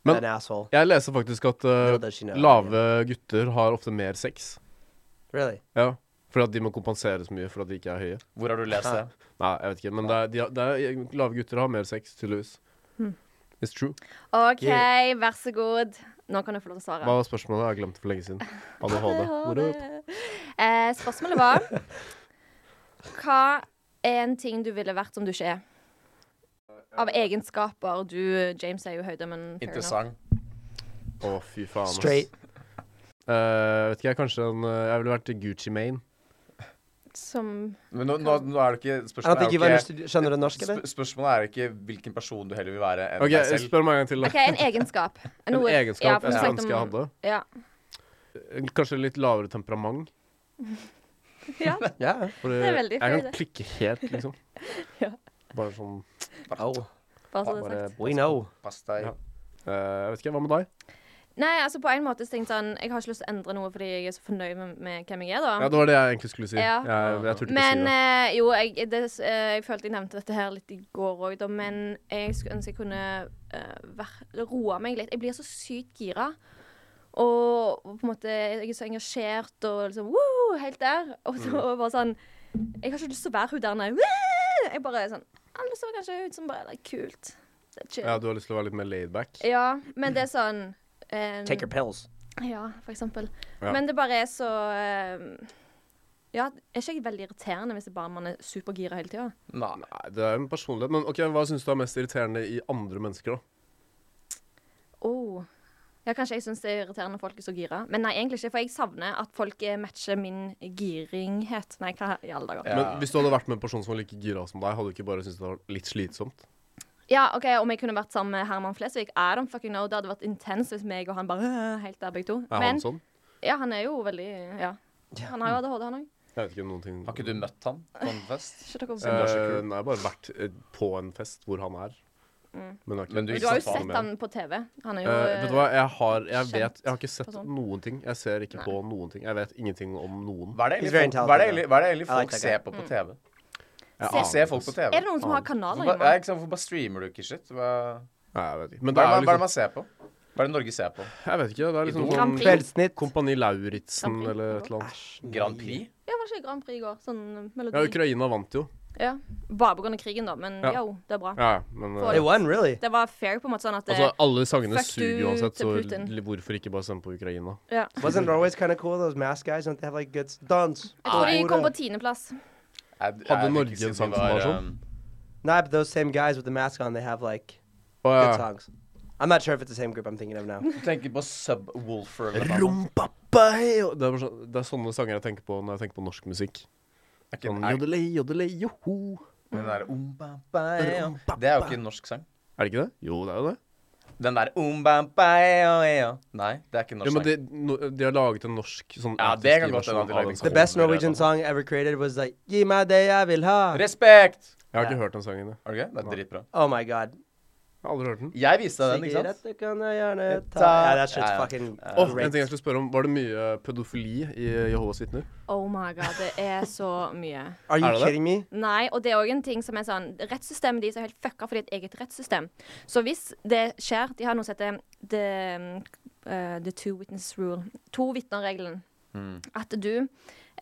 Men- an asshole. Jeg leser faktisk at eh, Little does she know. lave gutter har ofte mer sex. Really? Ja. Fordi at de må kompensere så mye for at de ikke er høye. Hvor har du lest det? Nei, jeg vet ikke, men det er, de, har- det er, lave gutter har mer sex, tydeligvis. It's true. OK, Yeah. vær så god. Nå kan du få lov til å svare. Hva var spørsmålet? Jeg har glemt det for lenge siden. ADHD. What up? Eh, spørsmålet var Hva er en ting du ville vært som du ikke er? Av egenskaper. Du, James, er jo høyde, men fair Interessant. Å, fy faen. ass. Straight. Eh, vet ikke, jeg kanskje en, eh, Jeg ville vært Gucci Mane. enough. Som Men nå, nå, nå er det ikke I don't Spørsmålet think you've er jo ikke understood. Skjønner du norsk, eller? sp Spørsmålet er jo ikke hvilken person du heller vil være enn OK, deg selv. spør meg en gang til, da. OK, en egenskap. [LAUGHS] En Noe- egenskap ja, for jeg vi skulle snakket ønske jeg om- hadde. Ja. Kanskje litt lavere temperament. Ja, Yeah. For Det er veldig Jeg feil, kan det. klikke helt, liksom. [LAUGHS] Ja. Bare sånn Oh, bare så det er bare, sagt. we know. Pass deg. Ja. Eh, Jeg vet ikke, hva med deg? Nei, altså på en måte så tenkte jeg sånn Jeg har ikke lyst til å endre noe fordi jeg er så fornøyd med, med hvem jeg er, da. Ja, Det var det jeg egentlig skulle si. Ja. Jeg, jeg turte ikke å si Men det. eh, jo, jeg, det, eh, jeg følte jeg nevnte dette her litt i går òg, da. Men jeg skulle ønske jeg kunne eh, vær- roe meg litt. Jeg blir så sykt gira. Og og på en måte Jeg er så engasjert og liksom woo, helt der. Og så Mm. bare sånn Jeg har ikke lyst til å være hun der nede. Woo! Jeg bare er sånn «Ah, Det så kanskje ut som bare det er kult. Det er chill. Ja, Ja, Du har lyst til å være litt mer laidback? men det er sånn eh, Take your pills. ja, for eksempel. Ja. Men det bare er så eh, Ja, er ikke jeg veldig irriterende hvis det bare man er supergira hele tida? Nei. Nei, det er en personlighet. Men ok, hva syns du er mest irriterende i andre mennesker, da? Oh. Ja, kanskje jeg syns det er irriterende når folk er så gira. Men nei, egentlig ikke, for jeg savner at folk eh, matcher min giringhet. Nei, hva i alle dager. Ja. Men hvis du hadde vært med en person som var like gira som deg, hadde du ikke bare syntes det var litt slitsomt? Ja, OK, om jeg kunne vært sammen med Herman Flesvig, I don't fucking know. Det hadde vært intenst hvis meg og han bare øh, helt der, begge to. Er Men han sånn? ja, han er jo veldig Ja. Han har jo ADHD, han òg. Jeg vet ikke om noen ting Har ikke du møtt han på en fest? Ikke dere Eh, Eh, Nei, jeg har bare vært eh, på en fest hvor han er. Mm. Men, jeg har ikke- Men du- Men Du har jo sant, sett han på TV. Han er jo Eh, vet du hva, jeg har Jeg kjent vet Jeg har ikke sett person. noen ting. Jeg ser ikke på noen ting. Jeg vet ingenting om noen. Hva er det He's egentlig very folk, hva er det talented, egentlig, hva er det egentlig I like folk that guy. ser på på TV? Jeg Hvorfor aner ser folk ikke. på TV? Mm. eh, Er det noen som har kanaler Hvorfor, hjemme? ja, ikke sant, hvorfor bare streamer du ikke shit? Hva, Nei, jeg vet ikke. Men hva, det er, det- er jo hva er det man liksom ser på? Hva er det Norge ser på? Jeg vet ikke. Det er liksom Idol? Grand sånn Prix? Kveldsnytt. Kompani Lauritzen Grand Prix, eller ja. et eller annet. Grand Prix? Ja, var ikke Grand Prix i går? Sånn eh, Ja, melodi. Ukraina vant jo. Ja. Bare pga. krigen, da, men Ja. yo, det er bra. Ja, men eh, For- They won, really. Det var fair, på en måte, sånn at det, Altså, alle sangene Fuck suger you uansett, til så Putin. l- hvorfor ikke bare stemme på Ukraina? ja. Wasn't Norway's kind of cool? Those mask guys, don't they have like good s- dance? Jeg tror de kom på tiendeplass. Jeg- jeg Hadde vil Norge ikke si en de sang som var, var sånn? um, Nah, but those same guys with the mask on, they have like Å, good ja. songs. I'm not sure if it's the same group I'm thinking of [LAUGHS] now. Du tenker på Subwoolfer eller noe annet. Rumpappai og- det, er bare sånn- det er sånne sanger jeg tenker på når jeg tenker på norsk musikk. Er ikke- Sånn er- jodele, jodele, joho. Den der um, ba, ba, ja. Det er jo ikke en norsk sang. Er det ikke det? Jo, det er jo det. Den der um, ba, ba, ja, ja. Nei, det er ikke en Ja, norsk sang. men de, no, de har laget en norsk sånn Ja, det kan godt artist-versjon hende at de av lagde den en sangen. The best Kommer det Norwegian da. song ever created was like "Gi mig det jeg vil ha." Respekt! Jeg har ikke hørt den sangen. jeg. Er det gøy? Det er dritbra. Oh my god. Jeg har aldri hørt den. Jeg viste deg den, ikke sant? Sikkert at du kan gjerne ta Ah, Ta- Yeah, Oh, that shit's Ja, ja. fucking Åh, en ting great. jeg skulle spørre om Var det mye pedofili i Jehovas vitner? Oh my god, det er så mye. Are Er det you det? kidding me? Nei, og det er òg en ting som er sånn Rettssystemet deres er helt fucka fordi det er et eget rettssystem. Så hvis det skjer De har noe som heter the, eh, the two witness rule. To vitner-regelen. At du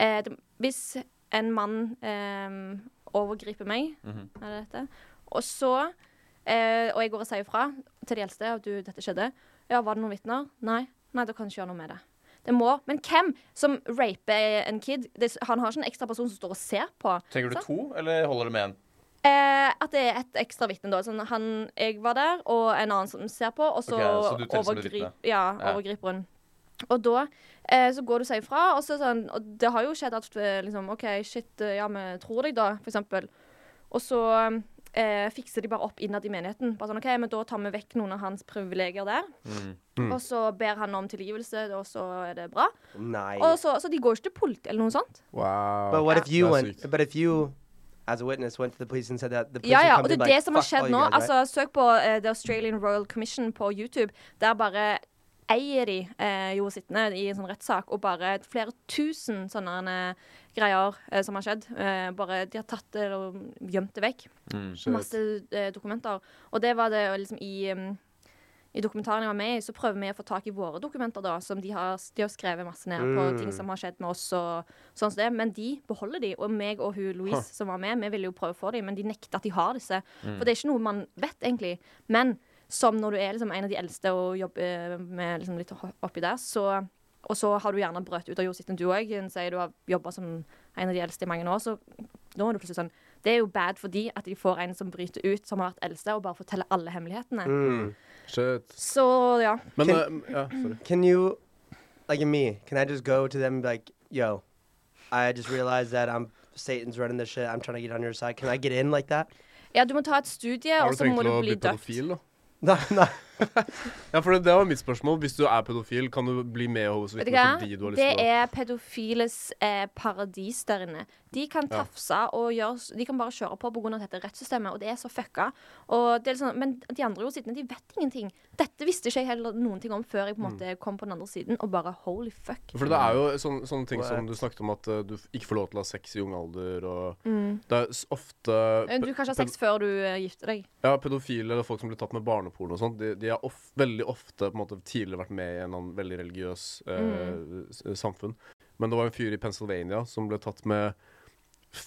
eh, det, Hvis en mann eh, overgriper meg, er det dette, og så eh, Og jeg går og sier ifra til de eldste at du, dette skjedde. Ja, var det noen vitner? Nei. Nei, da kan du ikke gjøre noe med det. Det må, Men hvem som raper en kid? Det, han har ikke en ekstra person som står og ser på. Trenger du sant? to, eller holder det med en? Eh, at det er et ekstra vitne, da. Sånn, han, jeg var der, og en annen som ser på, og så, Ok, så du teller som et overgri- vitne? ja, Ja. overgriper hun. Og da eh, så går du seg ifra, og, så sånn, og det har jo skjedd at eh, liksom, OK, shit, eh, ja, vi tror deg, da, for eksempel. Og så eh, fikser de bare opp innad i menigheten. Bare sånn, OK, men da tar vi vekk noen av hans privilegier der. Mm. Og så ber han om tilgivelse, og så er det bra. Og Nice. så, så de går ikke til politi eller noe sånt. Wow. But what if you That's went? sweet. But if you, as a witness, went to the police and said that the police Ja, would ja, come og to det you er and be det like, som har "Fuck all skjedd you nå. guys," right? Altså, Søk på eh, The Australian Royal Commission på YouTube. Der bare eier de eh, jo sittende i en sånn rettssak, og bare flere tusen sånne eh, greier eh, som har skjedd. Eh, bare De har tatt det og gjemt det vekk. Masse eh, dokumenter. Og det var det eh, liksom i um, i dokumentaren jeg var med i, så prøver vi å få tak i våre dokumenter, da, som de har, de har skrevet masse ned på ting som har skjedd med oss og sånn som det. Men de beholder de, og meg og hun Louise som var med, vi ville jo prøve å få de, men de nekter at de har disse. Mm. For det er ikke noe man vet, egentlig. Men som når du er liksom en av de eldste og jobber med liksom litt oppi der, så og så har du gjerne brøt ut av jordsitten, du òg. Sier du har jobba som en av de eldste i mange år, så nå er det plutselig sånn Det er jo bad for de at de får en som bryter ut, som har vært eldste, og bare forteller alle hemmelighetene. Mm. Mm. Shit. Så ja. Men Can- eh, ja, sorry. Can you, like in me, can I just go to them and be like, yo, I just realized that I'm Satan's running this shit. I'm trying to get on your side. Can I get in like that? [LAUGHS] Ja, du må ta et studie, Har og du så tenkt må til du å bli bli døpt. pedofil, da? No, no. Ja, for det, det var mitt spørsmål. Hvis du er pedofil, kan du bli med hos Vet du vitner hva? fordi du har lyst Det til å er pedofiles eh, paradis der inne. De kan Ja. tafse og gjøre s- De kan bare kjøre på pga. dette rettssystemet, og det er så fucka. Og det er liksom, men de andre jordsidene, de vet ingenting. Dette visste ikke jeg heller noen ting om før jeg på en måte kom på den andre siden, og bare holy fuck. Mm. For det er jo sånn, sånne ting som What? du snakket om, at eh, du f- ikke får lov til å ha sex i ung alder, og Det er s- ofte Eh, Mm. Du kan ikke ha sex før du eh, gifter deg. Ja, pedofile eller folk som blir tatt med barneporno og sånt, de, de har of, veldig ofte på en måte, tidligere vært med i en eller annen veldig religiøs eh, Mm. s- samfunn. Men det var en fyr i Pennsylvania som ble tatt med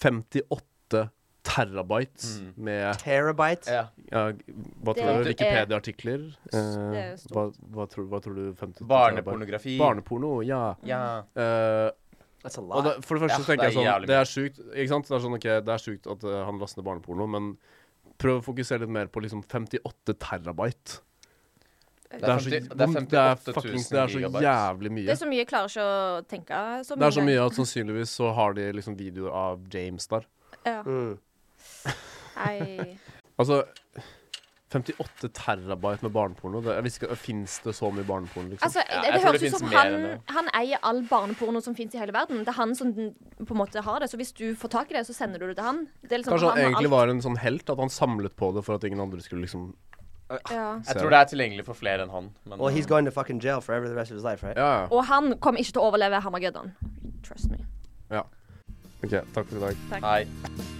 58 terabytes med Terabyte. Ja. ja, g- Hva Det tror er- du? Wikipedia-artikler? det er Eh, stort. hva, hva, tror, hva tror du? 58 terabyte? Barnepornografi. Barneporno, ja. Ja. Eh, That's a og lot. det, for det første Ja, så tenker det er jeg sånn jævlig Det er sjukt, ikke sant? Det er sånn, ok, det er sjukt at eh, han laster ned barneporno, men prøv å fokusere litt mer på liksom 58 terabyte. Det Det er, så, femti- det er det er 58 000 fuckings Det er så gigabyte. jævlig Det mye. er så mye jeg klarer ikke å tenke så mye. Det er så mye at sannsynligvis så har de liksom videoer av James der. Ja. Mm. Nei. Altså 58 terabyte med barneporno. Det, jeg visste ikke, Fins det så mye barneporno, liksom? Altså, Ja, det, jeg det tror høres det ut som finnes mer han, enn han eier all barneporno som fins i hele verden. Det er han som den, på en måte har det. Så hvis du får tak i det, så sender du det til han. Det er liksom, Kanskje han har egentlig alt. var en sånn helt? At han samlet på det for at ingen andre skulle liksom ja. Jeg tror det er tilgjengelig for flere enn han. Men Well, he's going to fucking jail forever the rest of his life, right? Ja, ja. Og han kommer ikke til å overleve Harmageddon. Trust me. OK, takk for i dag. Hei.